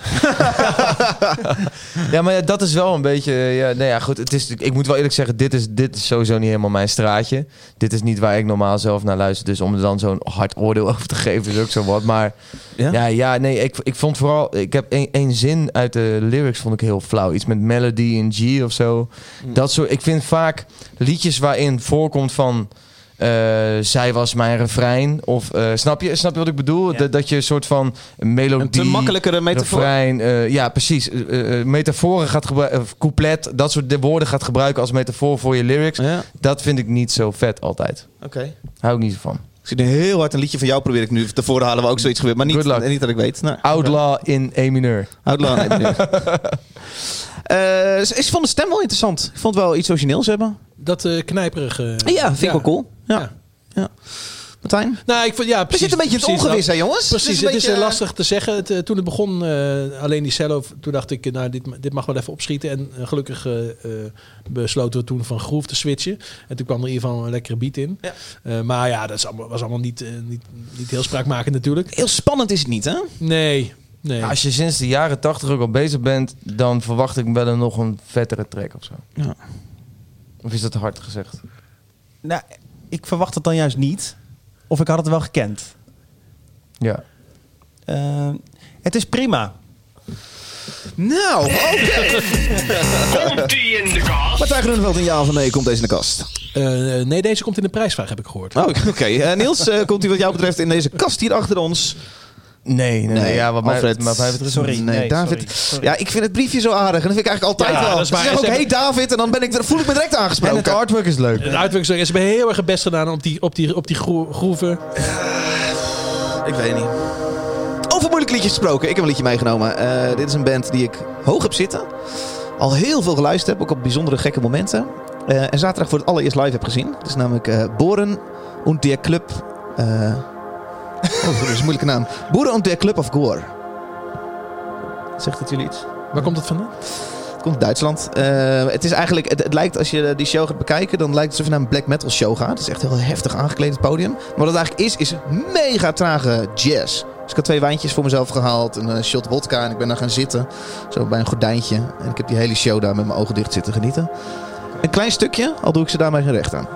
Ja, maar ja, dat is wel een beetje... Ja, nou ja, goed, het is, ik moet wel eerlijk zeggen, dit is, dit is sowieso niet helemaal mijn straatje. Dit is niet waar ik normaal zelf naar luister. Dus om er dan zo'n hard oordeel over te geven is ook zo wat. Maar Ja? ja, ja, nee, ik, ik vond vooral... Ik heb één- één zin uit de lyrics vond ik heel flauw. Iets met Hmm. melody in G of zo. Dat soort, ik vind vaak liedjes waarin voorkomt van... eh, zij was mijn refrein. Of eh, snap, je, snap je wat ik bedoel? Dat- dat je een soort van melodie. Een te makkelijkere metafoor. refrein, eh, ja, precies. Eh, eh, metaforen gaat gebruiken. couplet, dat soort de- woorden gaat gebruiken als metafoor voor je lyrics. Dat vind ik niet zo vet altijd. Oké. Hou ik niet zo van. Ik zit nu heel hard een liedje van jou probeer ik nu. Tevoren hadden we ook zoiets gebeurd, maar niet, niet dat ik weet. Nou, Ah. Nee. Outlaw in E mineur. Outlaw in E mineur. Eh, is- ik vond de stem wel interessant. Ik vond het wel iets origineels hebben. Dat eh knijperig. eh, ja, vind ik wel cool. Ja. ja. Martijn? Nou, ik vond, ja, precies, zitten een beetje in het precies ongewis, dat. hè, jongens? Precies, Het is het een is, beetje, eh, lastig te zeggen. Het, eh, toen het begon, eh, alleen die cello, toen dacht ik, eh, nou, dit, dit mag wel even opschieten. En eh, gelukkig eh, eh, besloten we toen van groove te switchen. En toen kwam er in ieder geval een lekkere beat in. Eh, maar ja, dat is allemaal, was allemaal niet, eh, niet, niet heel spraakmakend natuurlijk. Heel spannend is het niet, hè? Nee, nee. Ja, Als je sinds de jaren 80 ook al bezig bent, dan verwacht ik wel een nog een vettere track of zo. Ja. Of is dat te hard gezegd? Nou, ik verwacht het dan juist niet. Of ik had het wel gekend. Ja. Eh, het is prima. Nou, oké. Martijn Groeneveld, een ja of een nee, komt deze in de kast? Eh, nee, deze komt in de prijsvraag, heb ik gehoord. Oh, oké. Eh, Niels, eh, komt u wat jou betreft in deze kast hier achter ons? Nee, nee, nee. Ja, wat mij- wat mij betreft sorry. niet. Nee, Nee, David. sorry, sorry. Ja, ik vind het briefje zo aardig. En dat vind ik eigenlijk altijd Ja, wel. dat is Ze waar. zeggen ook, Ze hey hebben- David. En dan ben ik er, voel ik me direct En aangesproken. het artwork is leuk. De uitwerking is hebben heel erg het best gedaan op die, op die, op die gro- groeven. Ik weet niet. Over moeilijke liedjes gesproken. Ik heb een liedje meegenomen. Eh, dit is een band die ik hoog heb zitten. Al heel veel geluisterd heb. Ook op bijzondere gekke momenten. Eh, en zaterdag voor het allereerst live heb gezien. Het is namelijk eh, Boren und der Club. eh, oh, dat is een moeilijke naam. Boren und der Club of Gore. Zegt het jullie iets? Waar komt dat vandaan? Het komt uit Duitsland. Eh, het is eigenlijk, het, het lijkt als je die show gaat bekijken, dan lijkt het alsof je naar een black metal show gaat. Het is echt heel heftig aangekleed het podium. Maar wat het eigenlijk is, is mega trage jazz. Dus ik had twee wijntjes voor mezelf gehaald, een eh, shot vodka en ik ben daar gaan zitten. Zo bij een gordijntje. En ik heb die hele show daar met mijn ogen dicht zitten genieten. Een klein stukje, al doe ik ze daarmee geen recht aan.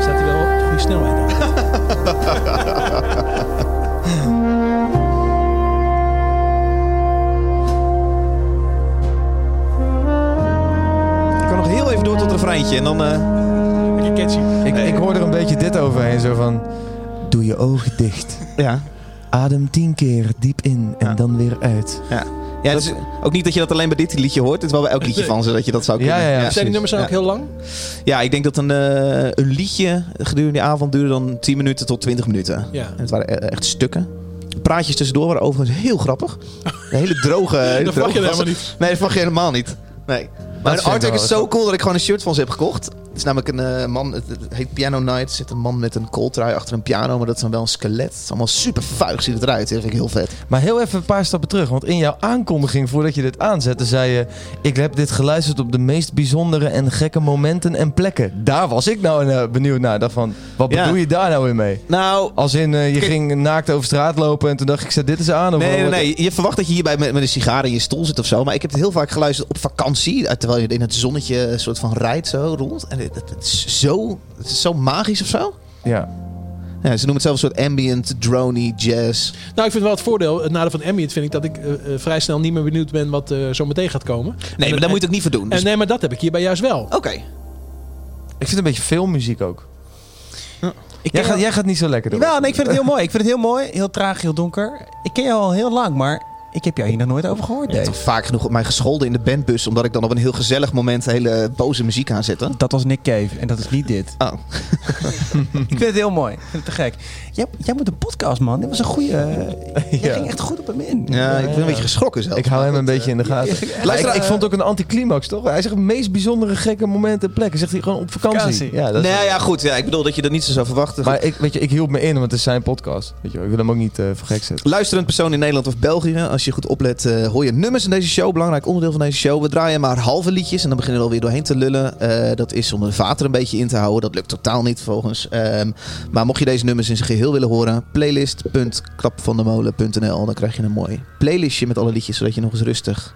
Staat hij wel op de goede snelheid aan? Ik kan nog heel even door tot een refreintje en dan... eh, Beetje catchy. Ik, ik hoor er een beetje dit overheen, zo van... Doe je ogen dicht. Ja. Adem tien keer diep in en dan weer uit. Ja, ja dus ook niet dat je dat alleen bij dit liedje hoort. Het is wel bij elk liedje van ze dat je dat zou kunnen. Ja, ja, ja, zijn die precies. nummers dan Ja. ook heel lang? Ja, ik denk dat een, eh, een liedje gedurende de avond duurde dan 10 minuten tot 20 minuten. Ja. En het waren e- echt stukken. Praatjes tussendoor waren overigens heel grappig. Een hele droge... hele Dat mag je droge helemaal gasten. niet. Nee, dat mag je helemaal niet. Nee. Maar vind de ik artwork wel is zo cool dat ik gewoon een shirt van ze heb gekocht. Het is namelijk een eh, man, het, het heet Piano Night. Er zit een man met een kooltrui achter een piano, maar dat is dan wel een skelet. Het is allemaal super vuig, ziet het eruit. Dat vind ik heel vet. Maar heel even een paar stappen terug. Want in jouw aankondiging voordat je dit aanzette, zei je... Ik heb dit geluisterd op de meest bijzondere en gekke momenten en plekken. Daar was ik nou eh, benieuwd naar. Ik dacht van, wat Ja. bedoel je daar nou in mee? Nou, Als in, eh, je Kijk- ging naakt over straat lopen en toen dacht ik, zet dit eens aan. Of Nee, nee, wat- nee. Je verwacht dat je hierbij met, met een sigaar in je stoel zit of zo. Maar ik heb het heel vaak geluisterd op vakantie. eh, Terwijl je in het zonnetje een soort van rijdt zo rond. En het, het- het is, zo, het is zo magisch of zo. Ja. Ja, ze noemen het zelf een soort ambient, drony, jazz. Nou, ik vind wel het voordeel, het nadeel van Ambient vind ik dat ik eh, eh, vrij snel niet meer benieuwd ben wat eh, zo meteen gaat komen. Nee, maar daar moet je het ook niet voor doen. En Dus- nee, maar dat heb ik hierbij juist wel. Oké. Ik vind een beetje filmmuziek ook. Ik Jij ken gaat, jou- jij gaat niet zo lekker door. Nou, nee, ik vind het heel mooi. Ik vind het heel mooi. Heel traag, heel donker. Ik ken jou al heel lang, maar Ik heb jou hier nog nooit over gehoord, Je hebt Dave. toch vaak genoeg op mij gescholden in de bandbus, omdat ik dan op een heel gezellig moment hele boze muziek aanzette. Dat was Nick Cave en dat is niet dit. Oh. ik vind het heel mooi. Ik vind het te gek. Jij, jij moet een podcast, man. Dit was een goede. Jij ging echt goed op hem in. Ja, ik ben een beetje geschrokken zelf. Ik hou hem een beetje in de gaten. Maar Luister, ik, ik eh, vond het ook een anticlimax, toch? Hij zegt het meest bijzondere gekke momenten en plekken. Zegt hij gewoon op vakantie. Vakantie. Ja, dat is- nee, Nou ja, goed. Ja, ik bedoel dat je dat niet zo zou verwachten. Maar ik, weet je, ik hield me in, want het is zijn podcast. Weet je, wel. ik wil hem ook niet eh voor gek zetten. Luisterend persoon in Nederland of België, als je goed oplet, eh, hoor je nummers in deze show. Belangrijk onderdeel van deze show. We draaien maar halve liedjes en dan beginnen we alweer doorheen te lullen. Eh, dat is om de vaat er een beetje in te houden. Dat lukt totaal niet volgens. Ehm, maar mocht je deze nummers in zijn geheel willen horen, playlist.klapvandemolen.nl. Dan krijg je een mooi playlistje met alle liedjes, zodat je nog eens rustig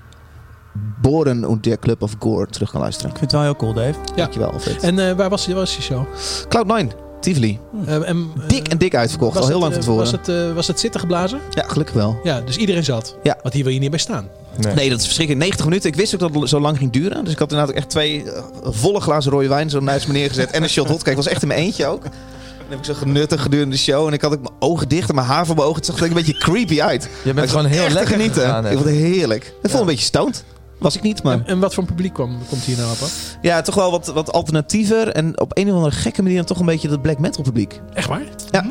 Boren und der Club of Gore terug kan luisteren. vind het wel heel cool, Dave. Dankjewel, Alfred. En eh, waar was, waar was die show? Cloud9, Tivoli. Eh, en, eh, Dik en dik uitverkocht, was al heel het, lang van eh, tevoren. Was het, eh, was het zitten geblazen? Ja, gelukkig wel. Ja, dus iedereen zat. Ja. Want hier wil je niet bij staan. Nee. Nee, dat is verschrikkelijk. 90 minuten. Ik wist ook dat het zo lang ging duren. Dus ik had inderdaad ook echt twee eh, volle glazen rode wijn zo naast me neergezet. En een shot hot. Kijk, ik was echt in mijn eentje ook. En dan heb ik zo genuttig gedurende de show. En ik had ook mijn ogen dicht en mijn haar voor mijn ogen. Het zag er een beetje creepy uit. Je Maar bent ik gewoon zat heel echt te lekker genieten. gegaan, hè. Ik vond het heerlijk. Ik voelde een beetje stoned. Was ik niet, maar... En wat voor een publiek kwam, komt hier nou op? af? Ja, toch wel wat, wat alternatiever. En op een of andere gekke manier dan toch een beetje dat black metal publiek. Echt waar? Mhm. Ja.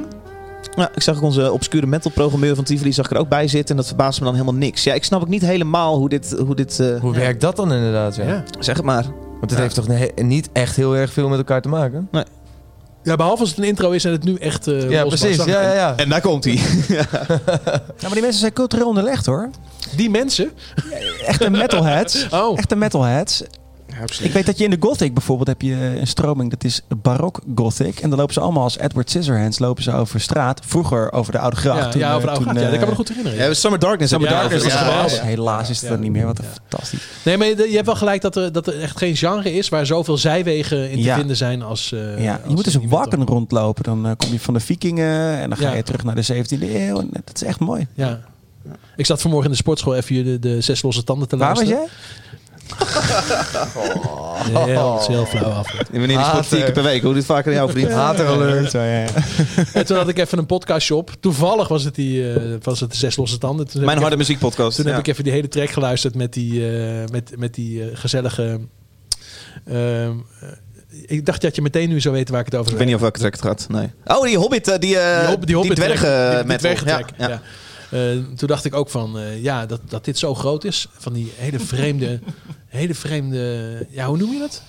Ja, ik zag ook onze obscure metal-programmeur van Tivoli zag ik er ook bij zitten. En dat verbaasde me dan helemaal niks. Ja, ik snap ook niet helemaal hoe dit... Hoe dit eh, Hoe werkt dat dan inderdaad? Ja? Ja. Zeg het maar. Want het heeft toch ne- niet echt heel erg veel met elkaar te maken? Ja, behalve als het een intro is en het nu echt. eh, Ja, losbarst. precies. Ja, ja, ja. En daar komt hij. Ja, maar die mensen zijn cultureel onderlegd, hoor. Die mensen. Echte metalheads. Oh. Echte metalheads. Ik weet dat je in de gothic bijvoorbeeld heb je eh, een stroming dat is barok gothic en dan lopen ze allemaal als Edward Scissorhands lopen ze over straat. Vroeger over de oude gracht. Ja, Toen, ja, over de eh, oude toen, gracht. Ja, dat kan eh, me nog goed herinneren. Ja, Summer Darkness. Summer hebben we Darkness, daar ja. gezien. geweldig. Helaas is het Ja. dat niet meer. Wat een fantastisch. Nee, maar je, je hebt wel gelijk dat er, dat er echt geen genre is waar zoveel zijwegen in te Ja. vinden zijn als. eh, ja, als je moet dus die een wakken metal. rondlopen. Dan eh, kom je van de vikingen en dan ga Ja. je terug naar de 17e eeuw. En dat is echt mooi. Ja. Ik zat vanmorgen in de sportschool even de, de zes losse tanden te Waar was luisteren. jij? was jij? Heel, dat Oh. is heel flauw af. Meneer, die Ah, sport Hater. vier keer per week. Hoe dit vaker aan jou vriend? Hater alert. Zo, ja, ja. En toen had ik even een podcastje op. Toevallig was het, die, eh, was het de zes losse tanden. Toen heb Mijn ik harde muziekpodcast. Toen Ja. heb ik even die hele track geluisterd met die, eh, met, met die eh, gezellige. ehm, eh, ik dacht dat je meteen nu zou weten waar ik het over Ik heb. weet niet of welke track het gaat. Nee. Oh, die Hobbit. eh, Die, eh, Die, hop- die, die hobbit- dwergen die- eh, die metal. dwergentrack, Ja, ja. ja. Eh, toen dacht ik ook van, eh, ja, dat, dat dit zo groot is. Van die hele vreemde, hele vreemde, ja, hoe noem je dat?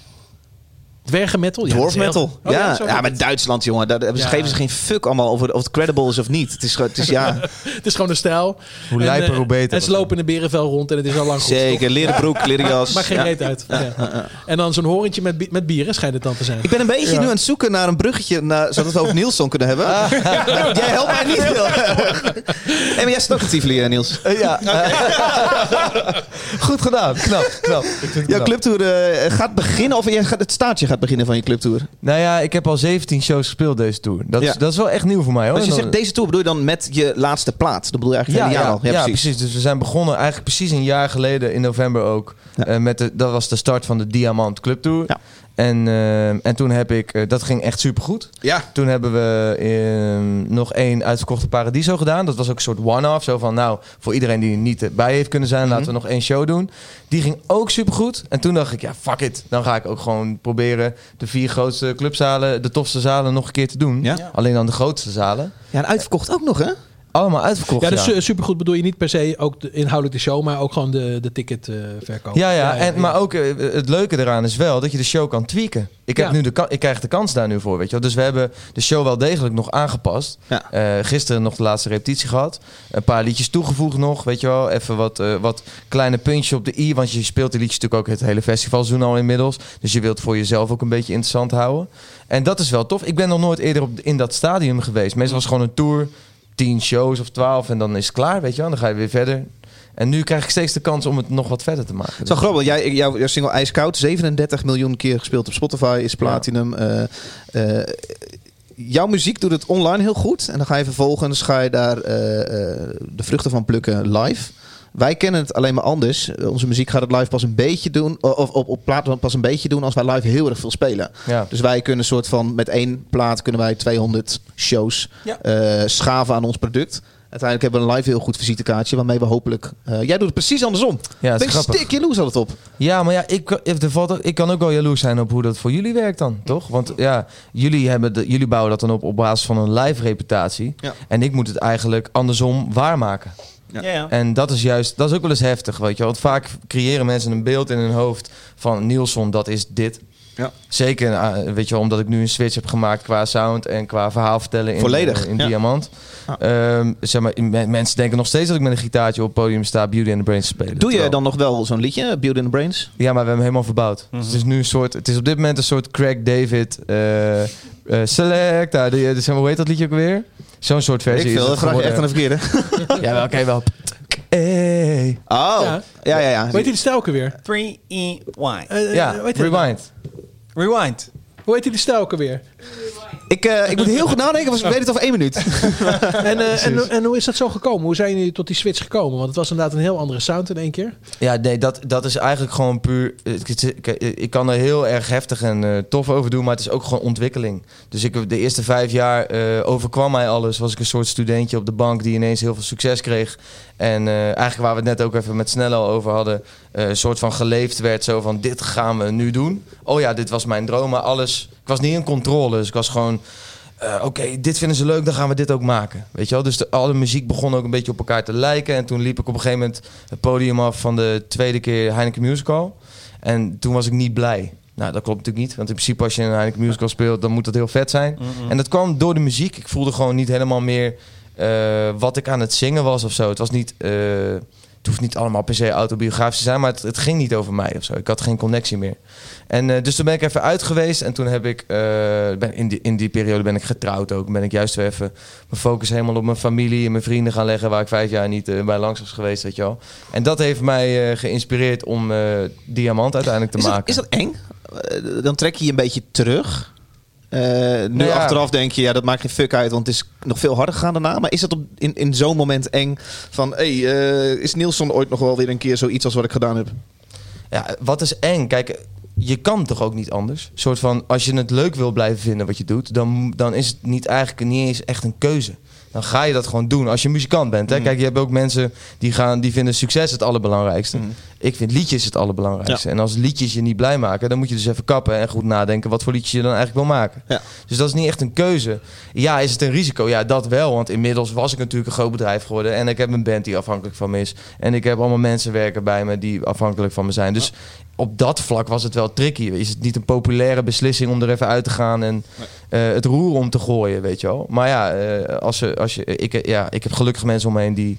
Dwergenmetal? Ja, dat Dwarf is heel- metal. Oh, ja, dat is ja, ook wel- maar Duitsland, jongen. Daar hebben ze, Ja. geven ze geen fuck allemaal over of het credible is of niet. Het is, gewoon- het is ja, Het is gewoon een stijl. Hoe En, lijper, eh, hoe beter. En ze lopen in een berenvel rond en het is al lang goed. zeker. Leren broek, leren jas. Maar geen Ja. reet uit. Ja. En dan zo'n horentje met, bi- met bieren schijnt het dan te zijn. Ik ben een beetje nu aan het zoeken naar een bruggetje, naar, zodat we het over Nielson kunnen hebben. Ah. Jij helpt mij niet heel erg. Hey, maar jij zit ook in Tivoli, eh, Niels. Eh, ja. Goed gedaan. Knap, knap. Ik vind het Jouw knap. clubtour eh, gaat beginnen, of jij gaat, het staartje gaat beginnen van je clubtour. Nou ja, ik heb al 17 shows gespeeld deze tour. Dat, Ja. is, dat is wel echt nieuw voor mij hoor. Als Dus je En zegt dan- deze tour, bedoel je dan met je laatste plaat? Dat bedoel je eigenlijk ja, het ja, hele jaar al. ja, precies. Dus we zijn begonnen eigenlijk precies een jaar geleden in november ook. Ja. eh, met de, dat was de start van de Diamant Club Tour. Ja. En, eh, en toen heb ik, eh, dat ging echt supergoed. Ja. Toen hebben we eh, nog één uitverkochte Paradiso gedaan. Dat was ook een soort one-off. Zo van, nou, voor iedereen die er niet bij heeft kunnen zijn, laten Mhm. we nog één show doen. Die ging ook supergoed. En toen dacht ik, ja, fuck it. Dan ga ik ook gewoon proberen de vier grootste clubzalen, de tofste zalen nog een keer te doen. Ja. Alleen dan de grootste zalen. Ja, en uitverkocht ook nog, hè? Allemaal uitverkocht. Ja, dus eh, supergoed bedoel je niet per se ook de, inhoudelijk de show, maar ook gewoon de, de ticketverkoop. Ja, ja, en, maar ook eh, het leuke eraan is wel dat je de show kan tweaken. Ik, heb Ja. nu de, ka- ik krijg de kans daar nu voor, weet je wel. Dus we hebben de show wel degelijk nog aangepast. Ja. Eh, gisteren nog de laatste repetitie gehad. Een paar liedjes toegevoegd nog, weet je wel. Even wat, eh, wat kleine puntjes op de i, want je speelt die liedjes natuurlijk ook het hele festivalseizoen al inmiddels. Dus je wilt het voor jezelf ook een beetje interessant houden. En dat is wel tof. Ik ben nog nooit eerder op, in dat stadium geweest. Meestal was het gewoon een tour, tien shows of twaalf en dan is het klaar, weet je wel. Dan ga je weer verder. En nu krijg ik steeds de kans om het nog wat verder te maken. Het is wel grappig. Jij, jouw, jouw single IJskoud, 37 miljoen keer gespeeld op Spotify, is platinum. Eh, eh, jouw muziek doet het online heel goed. En dan ga je vervolgens ga je daar eh, eh, de vruchten van plukken live. Wij kennen het alleen maar anders. Eh, Onze muziek gaat het live pas een beetje doen. Of op, op plaat pas een beetje doen als wij live heel erg veel spelen. Ja. Dus wij kunnen soort van met één plaat kunnen wij 200 shows Ja. eh, schaven aan ons product. Uiteindelijk hebben we een live heel goed visitekaartje waarmee we hopelijk... eh, jij doet het precies andersom. Ja, dat is ben je grappig. stik jaloers altijd op. Ja, maar ja, ik, kan- if er valt ook- ik kan ook wel jaloers zijn op hoe dat voor jullie werkt dan, toch? Want ja, jullie, hebben de- jullie bouwen dat dan op op basis van een live reputatie. Ja. En ik moet het eigenlijk andersom waarmaken. Ja, ja. En dat is juist, dat is ook wel eens heftig, weet je wel. Want vaak creëren mensen een beeld in hun hoofd van Nielsen, dat is dit. Ja. Zeker, eh, weet je wel, omdat ik nu een switch heb gemaakt qua sound en qua verhaal vertellen in, Volledig, eh, in ja. Diamant. Ehm, zeg maar, me- mensen denken nog steeds dat ik met een gitaartje op het podium sta Beauty and the Brains te spelen. Doe je Terwijl- dan nog wel zo'n liedje, Build in the Brains? ja, maar we hebben hem helemaal verbouwd. Dus het is nu een soort. Het is op dit moment een soort Craig David eh eh, Select. daar, die, eh, zeg maar, hoe heet dat liedje ook weer? Zo'n soort versie. Ik is veel, het dat graag je echt aan de geworden. verkeerde. Ja, wel, oké, wel. Hey. Oh, ja, Ja. ja, ja. Hoe heet die stijl ook Eh, weer? 3 e y Ja, Rewind. rewind. Rewind. Hoe heet die stijl ook weer? Ik, eh, ik moet heel goed nadenken, want ik weet het over één minuut. En, eh, en, en hoe is dat zo gekomen? Hoe zijn jullie tot die switch gekomen? Want het was inderdaad een heel andere sound in één keer. Ja, nee, dat, dat is eigenlijk gewoon puur. het- het- Ik, ik kan er heel erg heftig en eh, tof over doen, maar het is ook gewoon ontwikkeling. Dus ik, heb de eerste vijf jaar eh, overkwam mij alles. Was ik een soort studentje op de bank die ineens heel veel succes kreeg. En eh, eigenlijk waar we het net ook even met Snell al over hadden, eh, een soort van geleefd werd. Zo van: dit gaan we nu doen. Oh ja, dit was mijn droom, maar alles. Ik was niet in controle, dus ik was gewoon. eh, Oké, dit vinden ze leuk, dan gaan we dit ook maken. Weet je wel? Dus de, alle muziek begon ook een beetje op elkaar te lijken. En toen liep ik op een gegeven moment het podium af van de tweede keer Heineken Musical. En toen was ik niet blij. Nou, dat klopt natuurlijk niet. Want in principe als je een Heineken Musical speelt, dan moet dat heel vet zijn. En dat kwam door de muziek. Ik voelde gewoon niet helemaal meer eh, wat ik aan het zingen was of zo. Het was niet... eh, het hoeft niet allemaal per se autobiografisch te zijn, maar het, het ging niet over mij of zo. Ik had geen connectie meer. En eh, dus toen ben ik even uit geweest en toen heb ik, eh, ben, in, die, in die periode ben ik getrouwd ook. Ben ik juist weer even mijn focus helemaal op mijn familie en mijn vrienden gaan leggen, waar ik vijf jaar niet eh, bij langs was geweest, weet je wel. En dat heeft mij eh, geïnspireerd om eh, Diamant uiteindelijk te Is dat, maken. is dat eng? Eh, Dan trek je je een beetje terug. Eh, nu Nou ja. achteraf denk je, ja, dat maakt geen fuck uit, want het is nog veel harder gegaan daarna. Maar is dat op, in, in zo'n moment eng van, hey, eh, is Nielsen ooit nog wel weer een keer zoiets als wat ik gedaan heb? Ja, wat is eng? Kijk, je kan toch ook niet anders? Een soort van, als je het leuk wil blijven vinden wat je doet, dan, dan is het niet eigenlijk niet eens echt een keuze. Dan ga je dat gewoon doen als je muzikant bent. Hè? Kijk, je hebt ook mensen die, gaan, die vinden succes het allerbelangrijkste. Ik vind liedjes het allerbelangrijkste. En als liedjes je niet blij maken, dan moet je dus even kappen en goed nadenken wat voor liedjes je dan eigenlijk wil maken. Ja. Dus dat is niet echt een keuze. Ja, is het een risico? Ja, dat wel. Want inmiddels was ik natuurlijk een groot bedrijf geworden. En ik heb een band die afhankelijk van me is. En ik heb allemaal mensen werken bij me die afhankelijk van me zijn. Dus op dat vlak was het wel tricky. Is het niet een populaire beslissing om er even uit te gaan en eh, het roer om te gooien, weet je wel? Maar ja, eh, als je, als je, ik, ja ik heb gelukkig mensen om me heen die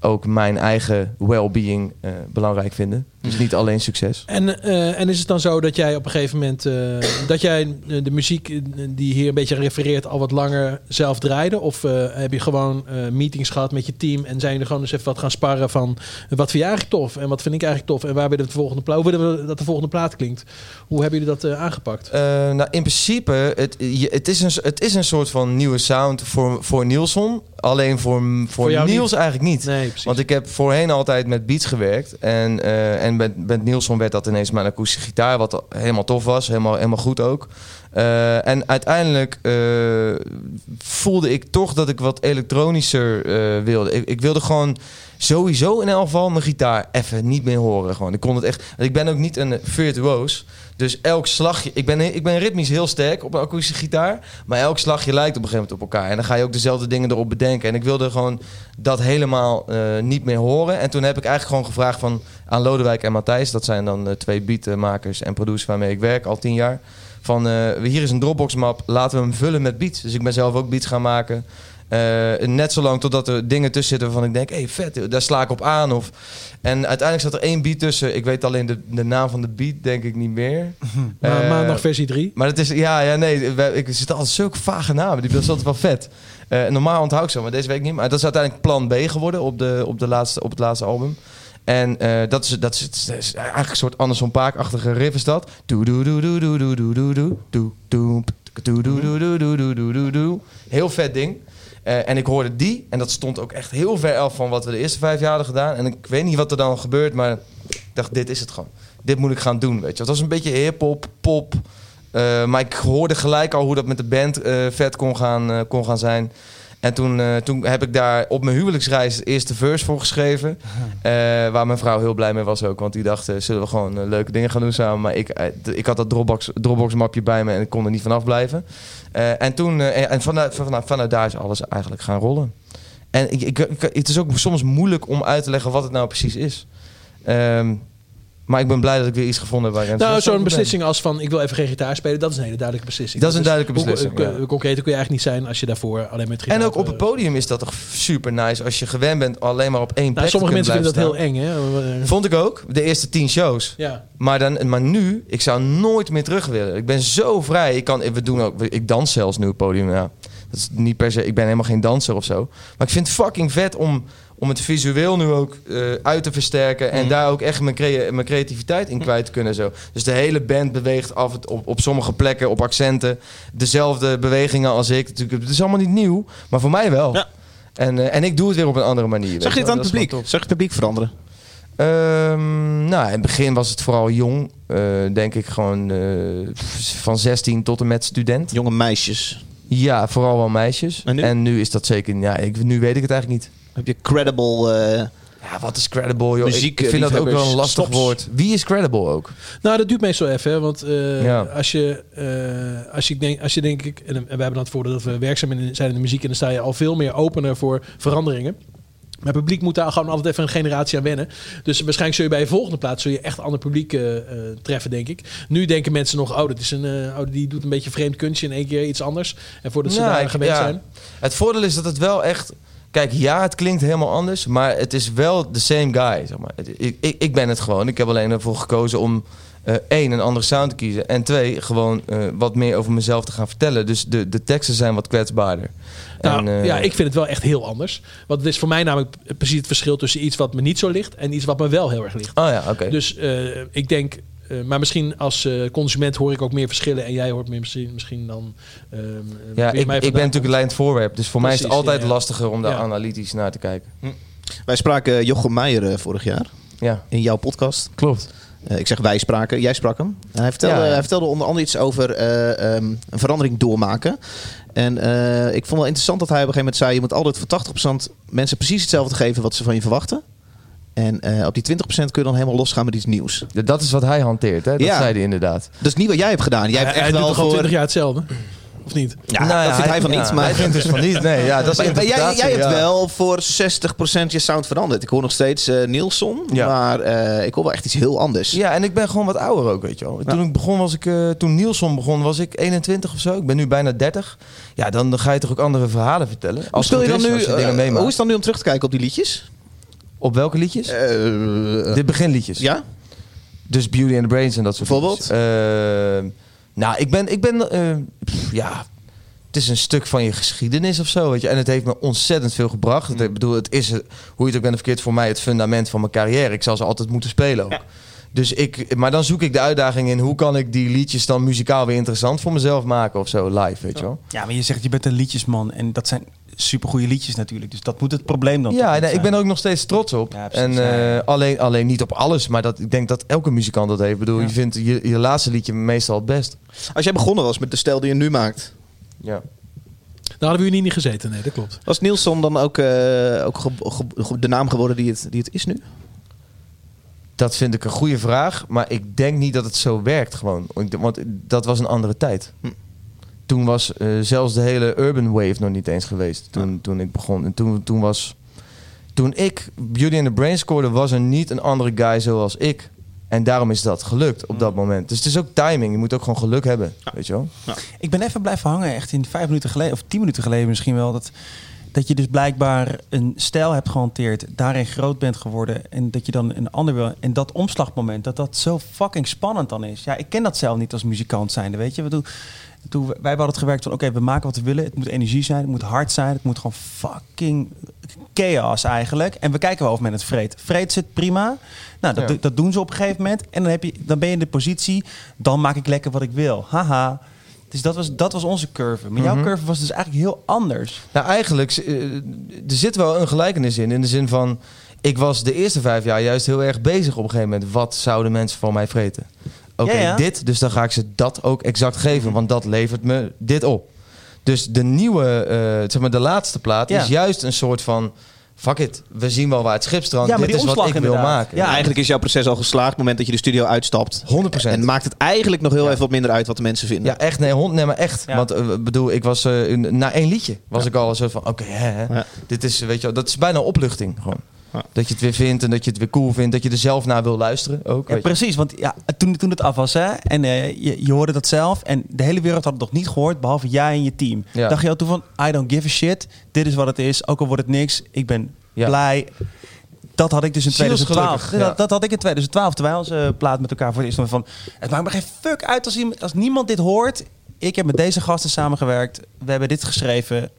ook mijn eigen well-being eh, belangrijk vinden. Dus niet alleen succes. En, eh, en is het dan zo dat jij op een gegeven moment... eh, dat jij eh, de muziek eh, die hier een beetje refereert al wat langer zelf draaide? Of eh, heb je gewoon eh, meetings gehad met je team... en zijn jullie gewoon eens even wat gaan sparren van... eh, wat vind je eigenlijk tof? En wat vind ik eigenlijk tof? En waar willen we de volgende plaat, hoe willen we dat de volgende plaat klinkt? Hoe hebben jullie dat eh, aangepakt? Eh, nou, in principe, het, je- het, is een, het is een soort van nieuwe sound voor, voor Nielsen. Alleen voor, voor, jou Niels eigenlijk niet. Nee, precies. Want ik heb voorheen altijd met beats gewerkt. En, eh, en met, met Nielsen werd dat ineens mijn akoestische gitaar. Wat al helemaal tof was. Helemaal, helemaal goed ook. Eh, en uiteindelijk eh, voelde ik toch dat ik wat elektronischer eh, wilde. Ik, ik wilde gewoon sowieso in elk geval mijn gitaar even niet meer horen. Gewoon. Ik kon het echt. Ik ben ook niet een virtuoos. Dus elk slagje. Ik ben, ik ben ritmisch heel sterk op een akoestische gitaar. Maar elk slagje lijkt op een gegeven moment op elkaar. En dan ga je ook dezelfde dingen erop bedenken. En ik wilde gewoon dat helemaal eh, niet meer horen. En toen heb ik eigenlijk gewoon gevraagd van, aan Lodewijk en Matthijs. Dat zijn dan eh, twee beatmakers en producers waarmee ik werk al tien jaar. Van eh, hier is een Dropbox map. Laten we hem vullen met beats. Dus ik ben zelf ook beats gaan maken. Eh, net zolang totdat er dingen tussen zitten waarvan ik denk, hé hey, vet, daar sla ik op aan. Of... En uiteindelijk zat er één beat tussen. Ik weet alleen de, de naam van de beat, denk ik niet meer. Maar Eh, maandag versie 3. maar het is, ja, ja, nee, wij- ik zit altijd zulke vage namen. Die dat is altijd wel vet. Eh, normaal onthoud ik zo, maar deze week niet. Maar dat is uiteindelijk plan B geworden op, de, op, de laatste, op het laatste album. En eh, dat, is, dat, is, dat is eigenlijk een soort Anderson Paak-achtige riff is dat. Doe, doe, doe, doe, doe, doe, doe, doe, doe, doe, doe, doe, doe, doe, doe, doe, doe, doe, doe, doe. Heel vet ding. Eh, en ik hoorde die, en dat stond ook echt heel ver af van wat we de eerste vijf jaar hadden gedaan. En ik weet niet wat er dan gebeurt, maar ik dacht, dit is het gewoon. Dit moet ik gaan doen, weet je. Het was een beetje hip-hop, pop, eh, maar ik hoorde gelijk al hoe dat met de band eh, vet kon gaan, eh, kon gaan zijn. En toen, eh, toen heb ik daar op mijn huwelijksreis de eerste verse voor geschreven. Eh, waar mijn vrouw heel blij mee was ook. Want die dacht, eh, zullen we gewoon eh, leuke dingen gaan doen samen. Maar ik, eh, d- ik had dat Dropbox, Dropbox mapje bij me en ik kon er niet vanaf blijven. Eh, en toen, eh, en vanuit, vanuit, vanuit daar is alles eigenlijk gaan rollen. En ik, ik, ik- het is ook soms moeilijk om uit te leggen wat het nou precies is. Ehm, maar ik ben blij dat ik weer iets gevonden heb waar ik Nou, enthousiast zo'n over ben. beslissing als van ik wil even geen gitaar spelen, dat is een hele duidelijke beslissing. Dat is een duidelijke beslissing, Hoe, ja. hoe concreter kun je eigenlijk niet zijn als je daarvoor alleen met gitaar. En ook op het podium is dat toch super nice als je gewend bent alleen maar op één plek nou, te sommige kunnen mensen vinden dat blijven heel eng, hè? Eh, staan. Vond ik ook, de eerste tien shows. Ja. Maar, dan, maar nu, ik zou nooit meer terug willen. Ik ben zo vrij. Ik, kan, we doen ook, ik dans zelfs nu op het podium. Ja. Dat is niet per se, ik ben helemaal geen danser of zo. Maar ik vind het fucking vet om, om het visueel nu ook eh, uit te versterken. Mm. En daar ook echt mijn, crea- mijn creativiteit in kwijt te kunnen. Zo. Dus de hele band beweegt af en toe op, op sommige plekken, op accenten. Dezelfde bewegingen als ik. Natuurlijk, het is allemaal niet nieuw, maar voor mij wel. En, eh, en ik doe het weer op een andere manier. weet Zag je wel. het aan Dat het is wel publiek? Zag je het publiek veranderen? Ehm, nou, in het begin was het vooral jong. eh, denk ik gewoon eh, van 16 tot en met student. Jonge meisjes. Ja, vooral wel meisjes. En nu? is dat zeker... Ja, ik, nu weet ik het eigenlijk niet. Heb je credible... eh, Ja, wat is credible, joh? Muziek, eh, ik, ik vind dat ook wel liefhebbers, een lastig stops. woord. Wie is credible ook? Nou, dat duurt meestal even, hè, want eh, Ja. als je, eh, als je, denk, als je denk ik, en, en wij hebben dan het voordeel dat we werkzaam in- zijn in de muziek en dan sta je al veel meer opener voor veranderingen. Maar het publiek moet daar gewoon altijd even een generatie aan wennen. Dus waarschijnlijk zul je bij je volgende plaats zul je echt ander publiek eh, eh, treffen, denk ik. Nu denken mensen nog, oh, dat is een, eh, oh, die doet een beetje vreemd kunstje in één keer iets anders. En voordat ze Nou, daar ik- gewend ja. zijn. Het voordeel is dat het wel echt... Kijk, ja, het klinkt helemaal anders, maar het is wel the same guy. Zeg maar. Het- ik, ik, ik ben het gewoon. Ik heb alleen ervoor gekozen om eh, één, een andere sound te kiezen. En twee, gewoon eh, wat meer over mezelf te gaan vertellen. Dus de, de teksten zijn wat kwetsbaarder. Nou, En, eh, ja, ik vind het wel echt heel anders. Want het is voor mij namelijk precies het verschil tussen iets wat me niet zo ligt en iets wat me wel heel erg ligt. Oh ja, oké. Dus eh, ik denk, eh, maar misschien als eh, consument hoor ik ook meer verschillen en jij hoort meer misschien, misschien dan. ehm, ja, weer ik, mij ik ben vandaan. natuurlijk leidend voorwerp. Dus voor mij is Precies, het altijd ja, ja. lastiger om daar Ja. analytisch naar te kijken. Wij spraken Jochem Meijer eh, vorig jaar Ja, in jouw podcast. klopt. Eh, ik zeg wij spraken, jij sprak hem. En hij, vertelde, Ja, ja. hij vertelde onder andere iets over eh, ehm, een verandering doormaken. En eh, ik vond wel interessant dat hij op een gegeven moment zei... je moet altijd voor 80% mensen precies hetzelfde geven wat ze van je verwachten. En eh, op die 20% kun je dan helemaal losgaan met iets nieuws. Dat is wat hij hanteert, hè? dat Ja. zei hij inderdaad. Dat is niet wat jij hebt gedaan. Jij hebt hij, hij echt doet wel toch al voor... 20 jaar hetzelfde? Of niet? Ja, Nou ja, dat vindt hij, hij- van ja, niet. Maar hij vindt dus van niet. Nee, ja, dat is Maar- maar jij, interpretatie, jij hebt ja. wel voor 60% je sound veranderd. Ik hoor nog steeds eh Nielson, Ja. maar eh, ik hoor wel echt iets heel anders. Ja, en ik ben gewoon wat ouder ook, weet je wel. Toen ik begon was ik, eh, toen Nielsen begon was ik 21 of zo. Ik ben nu bijna 30. Ja, dan, dan ga je toch ook andere verhalen vertellen. Hoe, Als het speel je goed dan is, als je nu, eh, dingen meemaakt. hoe is het dan nu om terug te kijken op die liedjes? Op welke liedjes? Eh, De beginliedjes. ja? Dus Beauty and the Brains en dat soort Bijvoorbeeld? Bijvoorbeeld? nou, ik ben, ik ben eh, pff, ja, het is een stuk van je geschiedenis of zo, weet je. En het heeft me ontzettend veel gebracht. Het- Ik bedoel, het is, eh, hoe je het ook bent verkeerd, voor mij het fundament van mijn carrière. Ik zal ze altijd moeten spelen ook. Dus ik, maar dan zoek ik de uitdaging in hoe kan ik die liedjes dan muzikaal weer interessant voor mezelf maken of zo, live, weet je wel. Ja, maar je zegt je bent een liedjesman en dat zijn supergoeie liedjes natuurlijk. Dus dat moet het probleem dan. toch Ja, niet nee, ik zijn. ben er ook nog steeds trots op. Ja, precies, en ja, ja. eh, alleen, alleen niet op alles, maar dat, ik denk dat elke muzikant dat heeft. Ik bedoel, Ja. je vindt je, je laatste liedje meestal het best. Als jij begonnen was met de stijl die je nu maakt, Ja. Daar hadden we jullie niet gezeten. Nee, dat klopt. was Nielson dan ook, eh, ook ge- ge- ge- de naam geworden die het, die het is nu? Dat vind ik een goede vraag, maar ik denk niet dat het zo werkt gewoon. Want dat was een andere tijd. Toen was eh, zelfs de hele urban wave nog niet eens geweest toen, toen ik begon. En toen, toen was... Toen ik Beauty and the Brain scoorde, was er niet een andere guy zoals ik. En daarom is dat gelukt op dat moment. Dus het is ook timing. Je moet ook gewoon geluk hebben, weet je wel? Ik ben even blijven hangen, echt in vijf minuten geleden, of tien minuten geleden misschien wel. Dat, dat je dus blijkbaar een stijl hebt gehanteerd, daarin groot bent geworden. En dat je dan een ander wil. En dat omslagmoment, dat dat zo fucking spannend dan is. Ja, ik ken dat zelf niet als muzikant zijnde, weet je. We doen, toen, wij hebben altijd gewerkt van, oké, we maken wat we willen. Het moet energie zijn, het moet hard zijn. Het moet gewoon fucking chaos eigenlijk. En we kijken wel of men het vreet. Vreet zit prima. Nou, dat, Ja. dat doen ze op een gegeven moment. En dan, heb je, dan ben je in de positie, dan maak ik lekker wat ik wil. Haha. Dus dat was, dat was onze curve. Maar jouw Mhm. curve was dus eigenlijk heel anders. Nou, eigenlijk, eh, er zit wel een gelijkenis in. In de zin van, ik was de eerste vijf jaar juist heel erg bezig op een gegeven moment. Wat zouden mensen van mij vreten? Oké, Ja, ja. dit, dus dan ga ik ze dat ook exact geven. Want dat levert me dit op. Dus de nieuwe, eh, zeg maar de laatste plaat, Ja. is juist een soort van... Fuck it, we zien wel waar het schip strandt. Ja, maar Dit die is wat ik omslag wil inderdaad. maken. Ja, eigenlijk is jouw proces al geslaagd op het moment dat je de studio uitstapt. 100%. En maakt het eigenlijk nog heel even wat minder uit wat de mensen vinden. Ja, echt. Nee, hond, nee maar echt. Ja. Want eh, bedoel, ik was eh, in- na één liedje was ik al een soort van, oké, hè, hè. Ja. dit is, weet je, wel, dat is bijna opluchting gewoon. Ja. Dat je het weer vindt en dat je het weer cool vindt, dat je er zelf naar wil luisteren ook. Ja, weet je. precies, want ja, toen, toen het af was, hè, en eh, je, je hoorde dat zelf, en de hele wereld had het nog niet gehoord, behalve jij en je team. Ja. Dacht je al toen van, I don't give a shit, dit is wat het is, ook al wordt het niks, ik ben Ja. blij. Dat had ik dus in Zielsgelukkig, 2012. ja. Dat, dat had ik in 2012, terwijl onze plaat met elkaar voor het eerst hadden van, het maakt me geen fuck uit als, iemand, als niemand dit hoort. Ik heb met deze gasten samengewerkt, we hebben dit geschreven,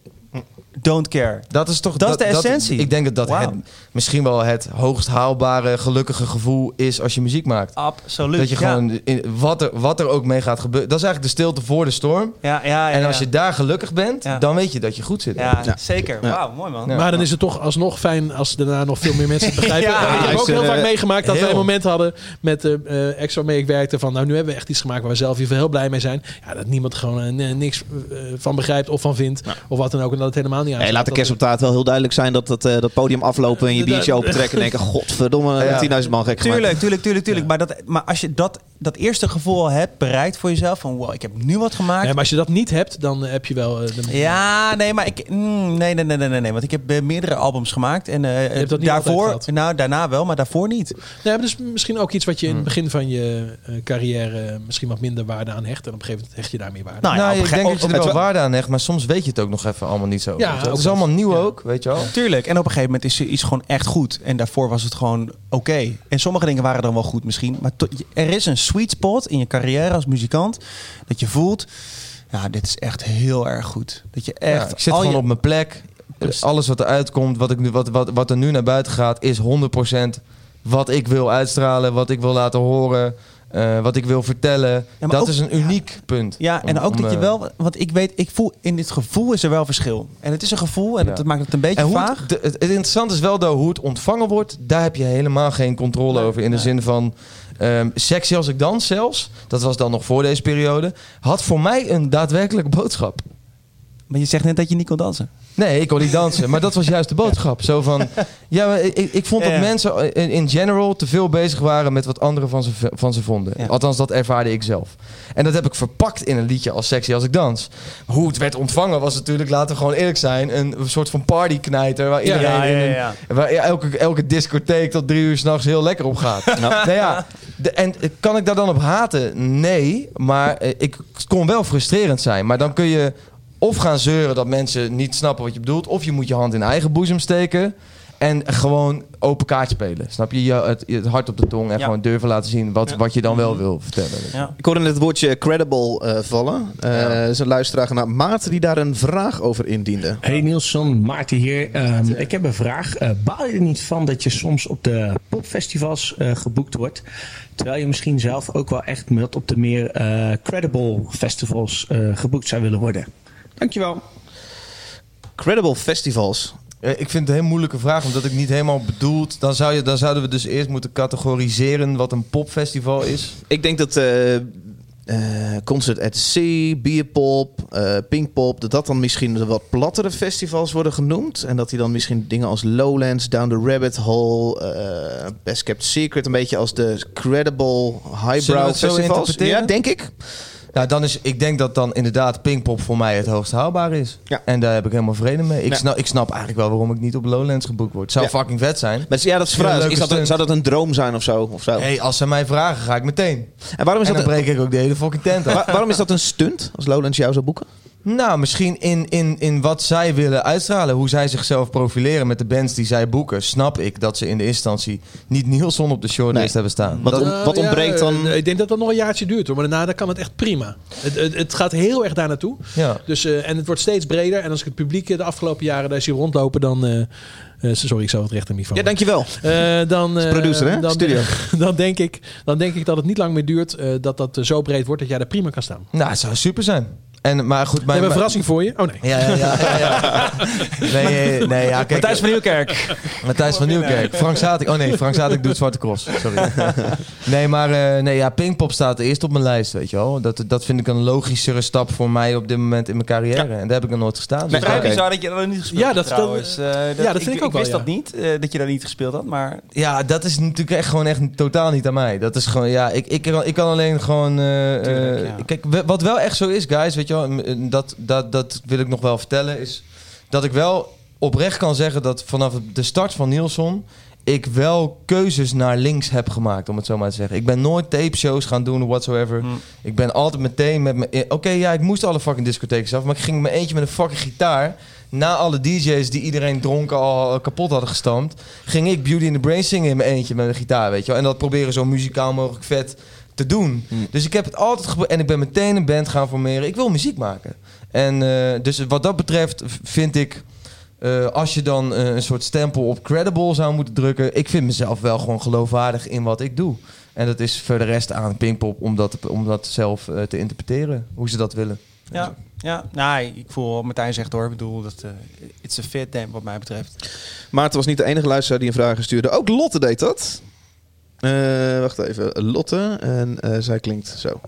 don't care. Hm. Dat is toch Dat is de essentie. ik denk dat dat Wauw. het, misschien wel het hoogst haalbare gelukkige gevoel is als je muziek maakt. Absoluut. Dat je ja. gewoon in, wat, er, wat er ook mee gaat gebeuren. Dat is eigenlijk de stilte voor de storm. Ja, ja, ja, en als ja. je daar gelukkig bent, Ja. dan weet je dat je goed zit. Ja, Ja. zeker. Ja. Wauw, mooi man. Ja. Maar dan is het toch alsnog fijn als daarna nog veel meer mensen het begrijpen. Ja. ik heb Ja, ook is, heel eh, vaak meegemaakt dat we heel. een moment hadden met eh eh, Exo waarmee ik werkte. Van nou, nu hebben we echt iets gemaakt waar we zelf hier heel blij mee zijn. Ja, dat niemand gewoon eh, n- niks eh, van begrijpt of van vindt. Of wat dan ook. En dat het helemaal niet aan. Hey, laat de kerstoptaat wel heel duidelijk zijn dat dat, eh, dat podium aflopen en je Dat- biertje opentrekken en denken... Godverdomme, Ja. 10.000 man gek gemaakt. Tuurlijk, tuurlijk, tuurlijk, tuurlijk. Maar, dat, maar als je dat, dat eerste gevoel al hebt bereikt voor jezelf, van wow, ik heb nu wat gemaakt. Nee, maar als je dat niet hebt, dan eh, heb je wel... eh, dan- Ja, nee, maar ik. mm, nee, nee, nee, nee, nee, nee. Want ik heb eh, meerdere albums gemaakt. En eh, hebt dat niet daarvoor. altijd Nou, daarna wel, maar daarvoor niet. Nee, maar dat is misschien ook iets wat je in Hmm. het begin van je eh, carrière eh, misschien wat minder waarde aan hecht. En op een gegeven moment hecht je daar meer waarde Nou, Nou, ja, op een ik gege- denk dat op- je er op- wel waarde aan hecht, maar soms weet je het ook nog even allemaal niet zo. Ja, Weet je wel. ook het is dat. allemaal nieuw Ja. ook, weet je wel. Tuurlijk. En op een gegeven moment is iets gewoon echt goed. En daarvoor was het gewoon oké. En sommige dingen waren dan wel goed misschien. Maar to- er is een sweet spot in je carrière als muzikant. Dat je voelt. Ja, dit is echt heel erg goed. Dat je echt. Ja, ik zit al gewoon je- op mijn plek. Alles wat eruit komt, wat, ik nu, wat, wat, wat er nu naar buiten gaat, is 100% wat ik wil uitstralen, wat ik wil laten horen, eh, wat ik wil vertellen. maar dat ook- is een uniek punt. Ja, en Om- ook om, dat je eh, wel, want ik weet, ik voel in dit gevoel is er wel verschil. En het is een gevoel en Ja. dat, dat maakt het een beetje En hoe vaag. het, de- het, het interessante is wel dat hoe het ontvangen wordt, daar heb je helemaal geen controle over. In de zin van ehm, sexy als ik dans zelfs, dat was dan nog voor deze periode, had voor mij een daadwerkelijke boodschap. Maar je zegt net dat je niet kon dansen. Nee, ik kon niet dansen. Maar dat was juist de boodschap. Zo van, ja, maar ik, ik vond dat Ja. mensen in, in general te veel bezig waren met wat anderen van ze, v- van ze vonden. Ja. Althans, dat ervaarde ik zelf. En dat heb ik verpakt in een liedje als Sexy als ik dans. Hoe het werd ontvangen was natuurlijk, laten we gewoon eerlijk zijn, een soort van partyknijter waar iedereen in een- Waar elke, elke discotheek tot drie uur s'nachts heel lekker op gaat. Nou ja, de- en kan ik daar dan op haten? Nee, maar eh, ik, het kon wel frustrerend zijn. Maar dan kun je of gaan zeuren dat mensen niet snappen wat je bedoelt... of je moet je hand in eigen boezem steken en gewoon open kaart spelen. Snap je? je het, het hart op de tong en Ja. gewoon durven laten zien wat, wat je dan wel wil vertellen. Ik hoorde net het woordje credible eh, vallen. Eh er is een luisteraar naar Maarten die daar een vraag over indiende. Hey Nielsen, Maarten hier. Ehm, ik heb een vraag. Eh, baal je er niet van dat je soms op de popfestivals eh, geboekt wordt, terwijl je misschien zelf ook wel echt met op de meer eh, credible festivals eh, geboekt zou willen worden? Dankjewel. Credible festivals. Eh, Ik vind het een heel moeilijke vraag, omdat ik niet helemaal bedoeld... Dan, zou je, dan zouden we dus eerst moeten categoriseren wat een popfestival is. Ik denk dat eh, eh, Concert at Sea, Bierpop, eh, Pinkpop... dat dat dan misschien de wat plattere festivals worden genoemd. En dat die dan misschien dingen als Lowlands, Down the Rabbit Hole... eh, Best Kept Secret, een beetje als de credible Zullen we highbrow het zo festivals. interpreteren? Ja, denk ik. Nou, dan is, ik denk dat dan inderdaad Pinkpop voor mij het hoogst haalbaar is. Ja. En daar heb ik helemaal vrede mee. Ik, Ja. snap, ik snap eigenlijk wel waarom ik niet op Lowlands geboekt word. Zou Ja. fucking vet zijn. Maar ja, dat is Heel vraag. leuke Is dat een- stunt. zou dat een droom zijn of zo? Of zo? hey, als ze mij vragen, ga ik meteen. En waarom is, En dan dat een, breek ik ook de hele fucking tent af. wa- waarom is dat een stunt als Lowlands jou zou boeken? nou, misschien in, in, in wat zij willen uitstralen, hoe zij zichzelf profileren met de bands die zij boeken, snap ik dat ze in de instantie niet Nielsen op de shortlist Nee. hebben staan. Want Dat- om- Nou, wat ontbreekt dan? eh, Ik denk dat dat nog een jaartje duurt hoor. Maar daarna dan kan het echt prima. Het, het, het gaat heel erg daar naartoe. ja. Dus, eh, en het wordt steeds breder. En als ik het publiek eh, de afgelopen jaren daar zie rondlopen, dan. eh, eh, sorry, ik zou wat recht aan microfoon. Ja, dankjewel. Eh, dan, eh, producer, hè? Dan, Studio. Dan denk, ik, dan denk ik dat het niet lang meer duurt eh, dat dat eh, zo breed wordt dat jij daar prima kan staan. Nou, het zou super zijn. En, maar goed, We mijn, hebben een verrassing voor je. Oh nee. Ja, ja, ja. ja, ja. Nee, eh, nee, ja, kijk. Matthijs van Nieuwkerk. Matthijs van Nieuwkerk. Frank Zatik. Oh nee, Frank Zatik doet Zwarte Cross. Sorry. Nee, maar eh, nee, ja, Pinkpop staat eerst op mijn lijst, weet je wel. Dat, dat vind ik een logischere stap voor mij op dit moment in mijn carrière. En daar heb ik nog nooit gestaan. Het is Dus, vrij oké. bizar dat je dat niet gespeeld Ja, hebt dat- dat- trouwens. Eh, ja, dat vind ik ook wel, wist ja. dat niet, eh, dat je dat niet gespeeld had, maar... Ja, dat is natuurlijk echt gewoon echt totaal niet aan mij. Dat is gewoon, ja, ik, ik, kan- ik kan alleen gewoon. eh, eh, Kijk, we- wat wel echt zo is, guys, weet je wel, m- eh, dat, dat, dat wil ik nog wel vertellen, is dat ik wel oprecht kan zeggen dat vanaf de start van Nielsen ik wel keuzes naar links heb gemaakt, om het zo maar te zeggen. Ik ben nooit tape shows gaan doen, whatsoever. Ik ben altijd meteen met me. eh, Oké, ja, ik moest alle fucking discotheken af, maar ik ging me eentje met een fucking gitaar. Na alle DJ's die iedereen dronken al eh, kapot hadden gestampt, ging ik Beauty in the Brain zingen in mijn eentje met een gitaar, weet je wel. En dat proberen zo muzikaal mogelijk vet te doen. Dus ik heb het altijd gebe- en ik ben meteen een band gaan formeren. Ik wil muziek maken. En eh, dus wat dat betreft v- vind ik eh, als je dan eh, een soort stempel op credible zou moeten drukken. Ik vind mezelf wel gewoon geloofwaardig in wat ik doe. En dat is voor de rest aan Pinkpop om dat, om dat zelf eh, te interpreteren. Hoe ze dat willen. Ja, ja. Nou, ik voel wat Martijn zegt hoor. Ik bedoel, dat, eh it's a fit damn wat mij betreft. Maarten was niet de enige luisteraar die een vraag stuurde. Ook Lotte deed dat. Eh, wacht even. Lotte. En eh, zij klinkt zo.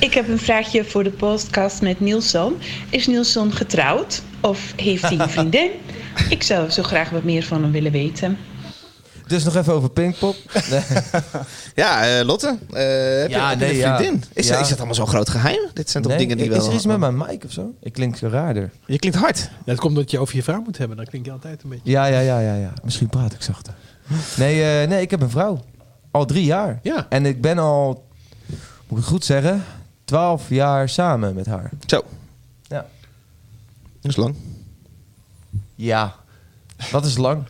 Ik heb een vraagje voor de podcast met Nielson. Is Nielson getrouwd of heeft hij een vriendin? Ik zou zo graag wat meer van hem willen weten. Dus nog even over Pinkpop. ja, eh, Lotte. eh, heb je- Ja, heb je nee, een ja. vriendin? Is, Ja. is dat allemaal zo'n groot geheim? Dit zijn toch Nee, dingen die is wel... Oh. er iets met mijn mic of zo? Ik klink raarder. Je klinkt hard. dat komt omdat je over je vrouw moet hebben. Dan klink je altijd een beetje... Ja, ja, ja, ja, ja. Misschien praat ik zachter. Nee, eh, nee, ik heb een vrouw. Al drie jaar. Ja. En ik ben al, moet ik het goed zeggen, twaalf jaar samen met haar. Zo. Ja. Dat is lang. Ja. Wat is lang?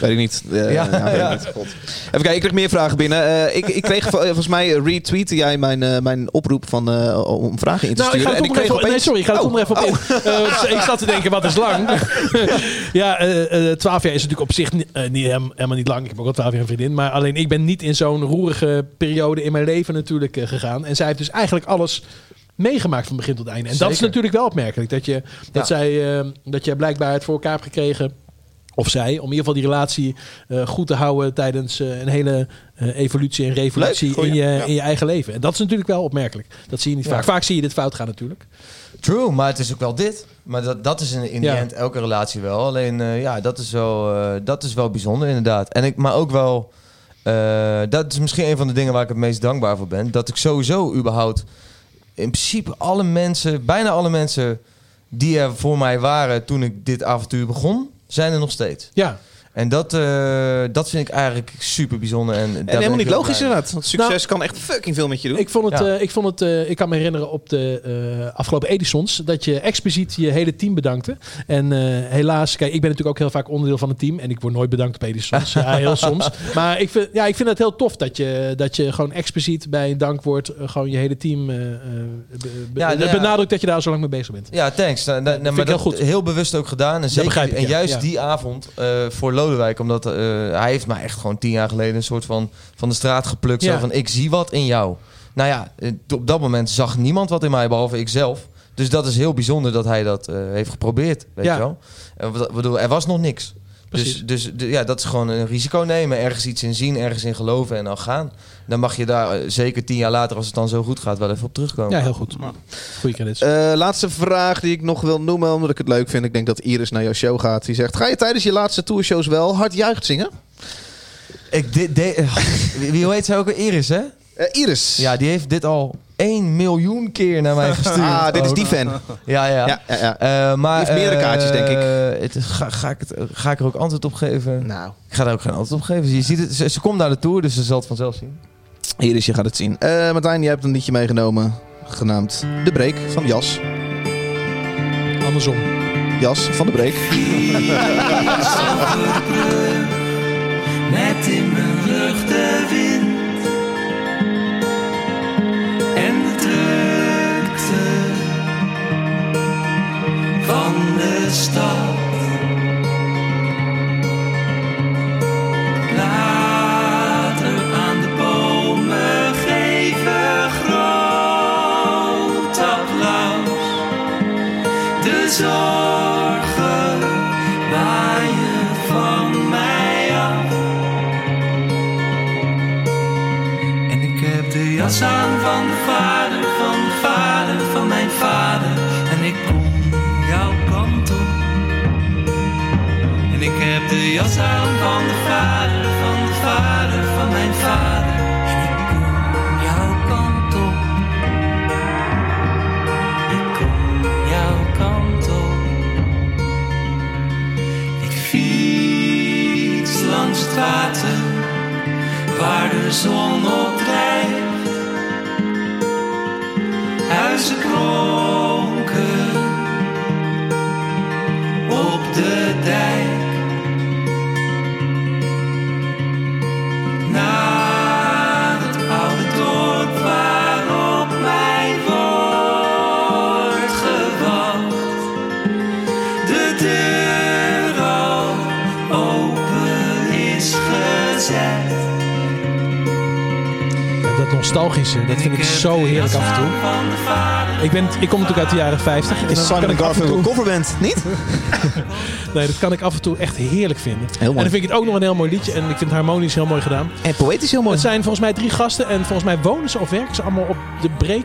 Weet ik niet. Eh, Ja, ja, weet ja. ik niet. God. Even kijken, ik kreeg meer vragen binnen. Eh, ik, ik kreeg vol- eh, volgens mij retweette jij mijn, eh, mijn oproep van, eh, om vragen in te Nou, ik sturen. ga het En toch nog kreeg even, nee, opeens- sorry, ik ga het Oh. toch nog even op in. Eh, dus ik zat te denken, wat is lang? ja, eh, eh, 12 jaar is natuurlijk op zich ni- eh, niet, hem- helemaal niet lang. Ik heb ook al 12 jaar een vriendin. Maar alleen ik ben niet in zo'n roerige periode in mijn leven natuurlijk eh, gegaan. En zij heeft dus eigenlijk alles meegemaakt van begin tot einde. En dat is Zeker. natuurlijk wel opmerkelijk. Dat, je, dat, Ja. zij, eh, dat jij blijkbaar het voor elkaar hebt gekregen... Of zij, om in ieder geval die relatie eh, goed te houden tijdens eh, een hele eh, evolutie en revolutie Leuk, goeie. in, je, Ja. in je eigen leven. En dat is natuurlijk wel opmerkelijk. Dat zie je niet Ja. vaak. Vaak zie je dit fout gaan natuurlijk. True, maar het is ook wel dit. Maar dat, dat is in, in Ja. die end elke relatie wel. Alleen eh, ja, dat is wel, eh, dat is wel bijzonder inderdaad. En ik, maar ook wel, eh, dat is misschien een van de dingen waar ik het meest dankbaar voor ben. Dat ik sowieso überhaupt in principe alle mensen, bijna alle mensen die er voor mij waren toen ik dit avontuur begon, zijn er nog steeds. Ja. En dat, eh, dat vind ik eigenlijk super bijzonder. En, daar ben En helemaal ik niet heel logisch blij mee. inderdaad. Want succes Nou, kan echt fucking veel met je doen. Ik vond het, Ja. eh, ik, vond het eh, ik kan me herinneren op de eh, afgelopen Edisons dat je expliciet je hele team bedankte. En eh, helaas, kijk, ik ben natuurlijk ook heel vaak onderdeel van het team en ik word nooit bedankt op Edisons. ja, heel soms. Maar ik vind, ja, ik vind het heel tof dat je, dat je gewoon expliciet bij een dankwoord eh, gewoon je hele team eh, eh, be- be- Ja, nou ja. benadrukt dat je daar zo lang mee bezig bent. Ja, thanks. Nou, nou, nou, vind maar ik dat heel heel, goed. bewust ook gedaan. En, zeker, begrijp ik, en ja. juist Ja. die avond eh, voor Lodewijk. Omdat eh, hij heeft mij echt gewoon tien jaar geleden een soort van van de straat geplukt. Ja. Zo van, ik zie wat in jou. Nou ja, eh, op dat moment zag niemand wat in mij, behalve ikzelf. Dus dat is heel bijzonder dat hij dat eh, heeft geprobeerd. Weet Ja. je wel? Eh, wat- wat bedoel, er was nog niks. Dus, Precies. dus de- ja, dat is gewoon een risico nemen. Ergens iets in zien, ergens in geloven en dan gaan. Dan mag je daar eh, zeker tien jaar later, als het dan zo goed gaat, wel even op terugkomen. Ja, heel goed. Goeie credits. Eh, laatste vraag die ik nog wil noemen, omdat ik het leuk vind. Ik denk dat Iris naar jouw show gaat. Die zegt, ga je tijdens je laatste tourshows wel hard juicht zingen? Ik dit de, eh, wie- wie hoe heet zij ook weer? Iris, hè? Eh, Iris. Ja, die heeft dit al 1 miljoen keer naar mij gestuurd. Ah, dit is ook. die fan. Ja, ja. Ja, ja, ja. Eh, maar, Die heeft meerdere kaartjes, denk ik. eh, het is- ga, ga, ik het, ga ik er ook antwoord op geven? Nou. Ik ga daar ook geen antwoord op geven. Je ziet het, ze, ze komt naar de tour, dus ze zal het vanzelf zien. Iris, je gaat het zien. Eh Martijn, jij hebt een liedje meegenomen, genaamd De Break van Jas. Eh, Andersom. Jas van De Break. Met in mijn rug de wind en de drukte van de stad. Later aan de bomen geven groot. zorgen waaien van mij af. En ik heb de jas aan van de vader, van de vader, van mijn vader. En ik kom jouw kant op. En ik heb de jas aan van de vader, van de vader, van mijn vader. En ik kom jouw kant op. Ik kom jouw kant op. Ik fiets langs het water, waar de zon op drijft. Huizen kronken op de dijk. Naar het oude dorp waarop mij wordt gewacht. De deur al open is gezet. Ja, dat nostalgische, dat vind ik zo heerlijk af en toe. Ik, ben, ik kom natuurlijk uit de jaren 50. en dan Is kan Simon ik af en Garfunkel toe- coverband, niet? Nee, dat kan ik af en toe echt heerlijk vinden. mooi. En dan vind ik het ook nog een heel mooi liedje. En ik vind het harmonisch heel mooi gedaan. En poëtisch heel mooi. Het zijn volgens mij drie gasten. En volgens mij wonen ze of werken ze allemaal op de break.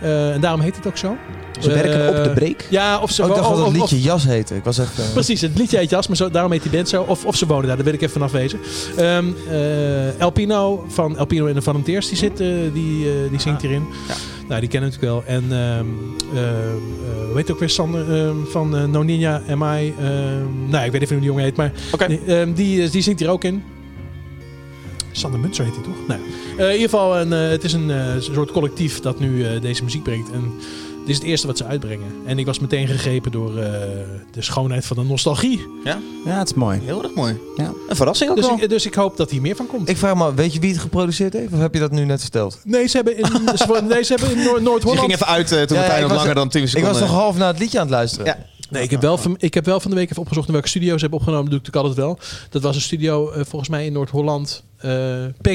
Eh, en daarom heet het ook zo. Ze werken op de break? Ja, of ze Oh, ik dacht wo- dat of- het of- liedje Jas heette. Ik was echt... eh, Precies, het liedje heet Jas, maar zo, daarom heet die band zo. Of, of ze wonen daar, daar wil ik even vanaf wezen. Ehm eh, Elpino van Elpino en de Van Teers, die, zit, eh, die, eh, die zingt hierin. Nou, die kennen we natuurlijk wel. En ehm weet ook weer Sander ehm, van eh, No Ninja Am I. ehm, nou, ik weet even hoe die jongen heet, maar die, ehm, die, eh, die zingt hier ook in. Sander Muntzer heet hij toch? Nou, eh, in ieder geval, een, eh, het is een eh, soort collectief dat nu eh, deze muziek brengt. En dit is het eerste wat ze uitbrengen. En ik was meteen gegrepen door eh, de schoonheid van de nostalgie. Ja, ja het is mooi. Heel erg mooi. Ja. Een verrassing ook dus wel. Ik, dus ik hoop dat hier meer van komt. Ik vraag me, af, weet je wie het geproduceerd heeft? Of heb je dat nu net verteld? Nee, ze hebben in, ze- nee, ze hebben in Noor- Je Noord-Holland... ging even uit eh, toen Ja, ja, ja, ik nog was- langer dan 10 Ik seconden. was nog half naar het liedje aan het luisteren. Ja. Nee, ik heb, wel van, ik heb wel van de week even opgezocht naar welke studio ze hebben opgenomen. Dat doe ik natuurlijk altijd wel. Dat was een studio eh, volgens mij in Noord-Holland. Eh,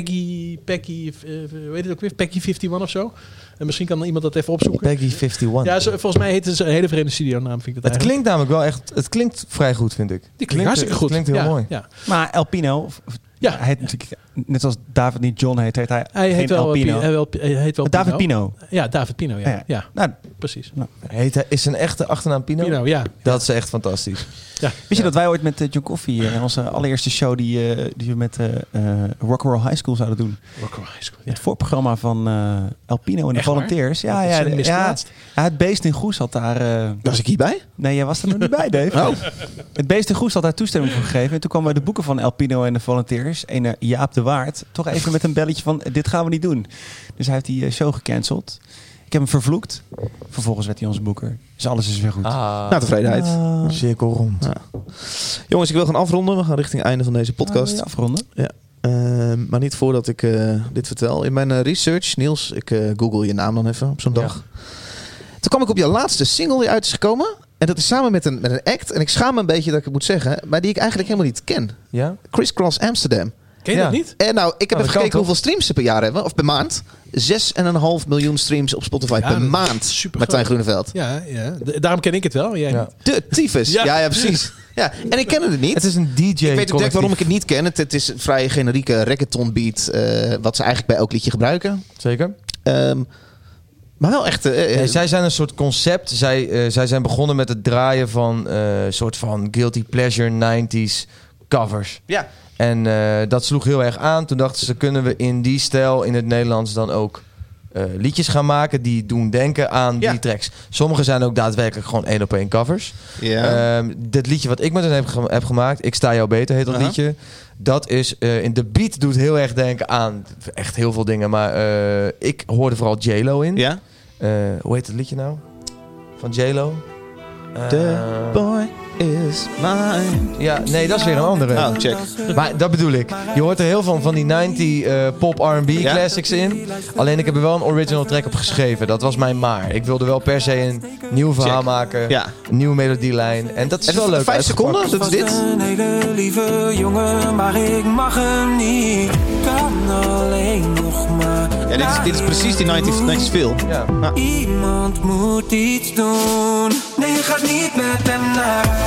Peggy, Peggy, eh, hoe weet het ook weer? Peggy 51 of zo. En misschien kan iemand dat even opzoeken. Peggy 51. Ja, ze- volgens mij heet het een hele vreemde studionaam, vind ik dat Het eigenlijk. klinkt namelijk wel echt... Het klinkt vrij goed, vind ik. Die klinkt hartstikke goed. Het klinkt heel Ja, mooi. Ja. Maar Elpino, of- of- Ja. hij heet natuurlijk, net als David niet John heet, heet hij, Hij geen heet wel, eh, Elpino. Pi- hij wel- hij heet wel David Pino. Ja, David Pino, ja. Ja. ja. Nou, precies. Heet hij, is zijn echte achternaam Pino? Pino, ja. Dat is echt fantastisch. Weet je dat wij ooit met eh, John Coffee eh, in onze allereerste show die, eh, die we met eh eh, Rock'n'Roll High School zouden doen. Rock'n'Roll High School, Het voorprogramma van eh Alpino en de Echt waar? Volunteers. Ja, Dat ja, is een de- ja, misplaatst. ja, het beest in Goes had daar... eh, Was ik hierbij? Oh. nee, jij was er nog niet bij, Dave. Het beest in Goes had daar toestemming voor gegeven. En toen kwamen de boeken van Alpino en de Volunteers. En eh, Jaap de Waard. Toch even met een belletje van, eh, dit gaan we niet doen. Dus hij heeft die eh, show gecanceld. Ik heb hem vervloekt. Vervolgens werd hij onze boeker. Dus alles is weer goed. Ah. Na tevredenheid. Ah. Cirkel rond. Jongens, ik wil gaan afronden. We gaan richting het einde van deze Ah, wil podcast. je afronden. Ja. Ehm, maar niet voordat ik eh, dit vertel. In mijn eh, research, Niels, ik eh, google je naam dan even op zo'n dag. Toen kwam ik op je laatste single die uit is gekomen. En dat is samen met een, met een act. En ik schaam me een beetje dat ik het moet zeggen. Maar die ik eigenlijk helemaal niet ken. Ja? Chris Cross Amsterdam. Ken je Ja. dat niet? En nou, Nou, ik heb dat even kan gekeken toch? hoeveel streams ze per jaar hebben. Of per maand. 6,5 miljoen streams op Spotify Ja, per dat is maand. supergroot. Martijn Groeneveld. Ja, ja. D- daarom ken ik het wel. Jij Ja. niet. De tyfus. Ja. Ja, ja, precies. Ja, en ik ken het niet. Het is een DJ Ik weet ook direct waarom ik het niet ken. Het, het is een vrij generieke reggaeton beat, eh, wat ze eigenlijk bij elk liedje gebruiken. Zeker. Ehm, maar wel echt... eh, eh, Nee, zij zijn een soort concept. Zij, eh, zij zijn begonnen met het draaien van eh soort van guilty pleasure 90s covers. ja. En eh, dat sloeg heel erg aan. Toen dachten ze, kunnen we in die stijl in het Nederlands dan ook eh, liedjes gaan maken die doen denken aan Ja. die tracks. Sommige zijn ook daadwerkelijk gewoon één op één covers. ja. Ehm, dit liedje wat ik met hen heb, ge- heb gemaakt, Ik Sta Jou Beter heet dat Aha. liedje. Dat is, eh, in de beat doet heel erg denken aan echt heel veel dingen. Maar eh, ik hoorde vooral J-Lo in. ja. Eh, hoe heet het liedje nou? Van J-Lo? Eh, The boy is mine. ja, nee, dat is weer een andere. Oh, check. Maar dat bedoel ik. Je hoort er heel veel van die 90 eh pop R&B Ja. classics in. Alleen ik heb er wel een original track op geschreven. Dat was mijn maar. Ik wilde wel per se een nieuw verhaal Check. maken. Ja. Een nieuwe melodielijn. En dat is wel leuk Vijf uitgepakt. seconden, dat is dit. Een hele lieve jongen, maar ik mag hem niet. Kan alleen nog maar. Ja, dit, is, dit is precies die 90s, 90s film. Ja. Iemand moet iets doen. Nee, je gaat niet met hem naar huis.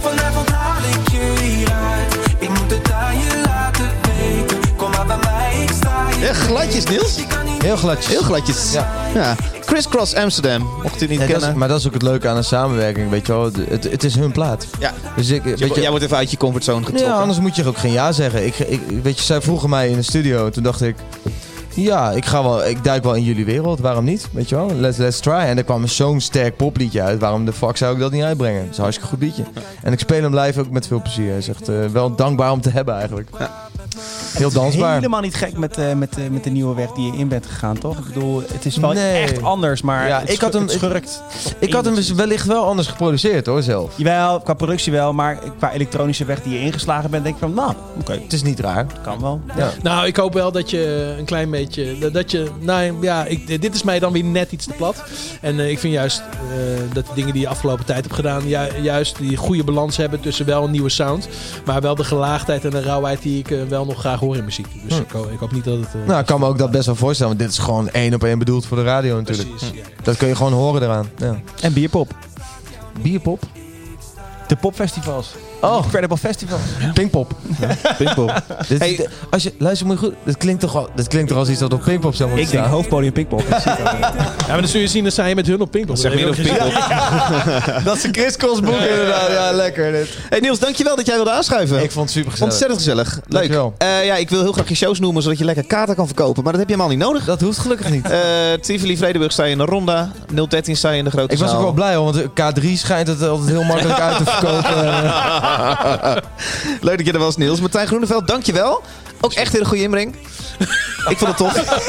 Vanavond haal ik je hieruit. Ik moet het aan je laten weten. Kom maar bij mij, ik sta hier. Ja, gladjes, Niels. Heel gladjes. Heel gladjes. Ja. ja. Crisscross Amsterdam, mocht u niet Ja, dat is- kennen. maar dat is ook het leuke aan de samenwerking, weet je wel. De- Het, het is hun plaat. Ja. Dus ik, weet je, Jij wordt even uit je comfortzone getrokken. ja, anders moet je er ook geen ja zeggen. Ik, ik, weet je, zij vroegen mij in de studio en toen dacht ik... Ja, ik, ga wel, ik duik wel in jullie wereld, waarom niet? Weet je wel, let's, let's try. En er kwam zo'n sterk popliedje uit, waarom de fuck zou ik dat niet uitbrengen? Het is een hartstikke goed liedje. En ik speel hem live ook met veel plezier. Het is echt eh, wel dankbaar om te hebben eigenlijk. Heel dansbaar. Helemaal niet gek met, eh, met, eh, met de nieuwe weg die je in bent gegaan, toch? Ik bedoel, het is wel Nee. echt anders, maar Ja, het ik had hem- het schurkt. Ik had hem dus wellicht wel anders geproduceerd hoor, zelf. Jawel, qua productie wel, maar qua elektronische weg die je ingeslagen bent, denk ik van, nou, oké, Het is niet raar. kan wel. Ja. Nou, ik hoop wel dat je een klein beetje. dat- Dat je. Nou ja, ik, dit is mij dan weer net iets te plat. En eh, ik vind juist eh, dat de dingen die je afgelopen tijd hebt gedaan. ju- juist die goede balans hebben tussen wel een nieuwe sound. maar wel de gelaagdheid en de rauwheid die ik eh, wel nog graag hoor in muziek. Dus Hm. ik, ho- ik hoop niet dat het. eh, Nou, ik kan me ook dat best wel voorstellen, want dit is gewoon één op één bedoeld voor de radio natuurlijk. Hm. Dat kun je gewoon horen eraan. Ja. En bierpop. Bierpop? De popfestivals. Oh. Incredible Festival. Pinkpop. Pinkpop. Dit, dit- als je, luister, moet je goed. Dat klinkt toch, al, dat klinkt toch als iets dat op Pinkpop zou moeten Ik denk staan? hoofdpodium Pinkpop. Ja, maar dan zul je zien dat zij met hun op Pinkpop. Zeg Dat meer op heb ik Pinkpop. gezien. dat is een Chris Kos boek inderdaad. Ja, lekker dit. Hey Niels, dankjewel dat jij wilde aanschuiven. Ik vond het super gezellig. Ontzettend gezellig. Leuk. Dankjewel. Eh, ja, ik wil heel graag je shows noemen, zodat je lekker kaarten kan verkopen. Maar dat heb je helemaal niet nodig. Dat hoeft gelukkig niet. Eh, Tivoli Vredenburg sta je in de Ronda. 013 sta je in de Grote Ik was ook Zaal. wel blij, hoor, want de K3 schijnt het altijd heel makkelijk uit te verkopen. Leuk dat je er was, Niels. Martijn Groeneveld, dankjewel. Ook echt weer een goede inbreng. ik vond het tof.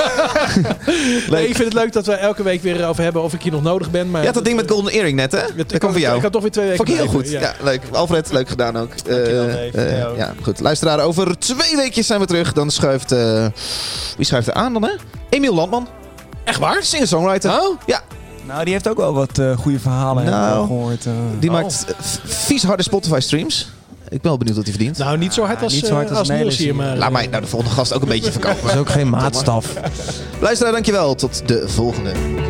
Nee, ik vind het leuk dat we elke week weer over hebben of ik hier nog nodig ben. Maar Je had dat ding met Golden Earring net, hè? Dat kwam van jou. Ik had toch weer twee weken. Vond ik heel goed. blijven, Ja. leuk. Alfred, leuk gedaan ook. Eh, eh, ja, goed. Luisteraar, over twee weekjes zijn we terug. Dan schuift... eh, wie schuift er aan dan, hè? Emiel Landman. Echt waar? Singer-songwriter. Oh? Ja. nou, die heeft ook wel wat eh, goede verhalen Nou, hebben we gehoord. eh. Die Oh. maakt eh, v- vies harde Spotify-streams. Ik ben wel benieuwd wat hij verdient. Nou, niet zo hard als, Ah, niet zo hard eh, als als, Niels Niels hier, maar... Laat mij nou de volgende gast ook een beetje verkopen. Dat is ook geen maatstaf. Luisteraar, dankjewel. Tot de volgende.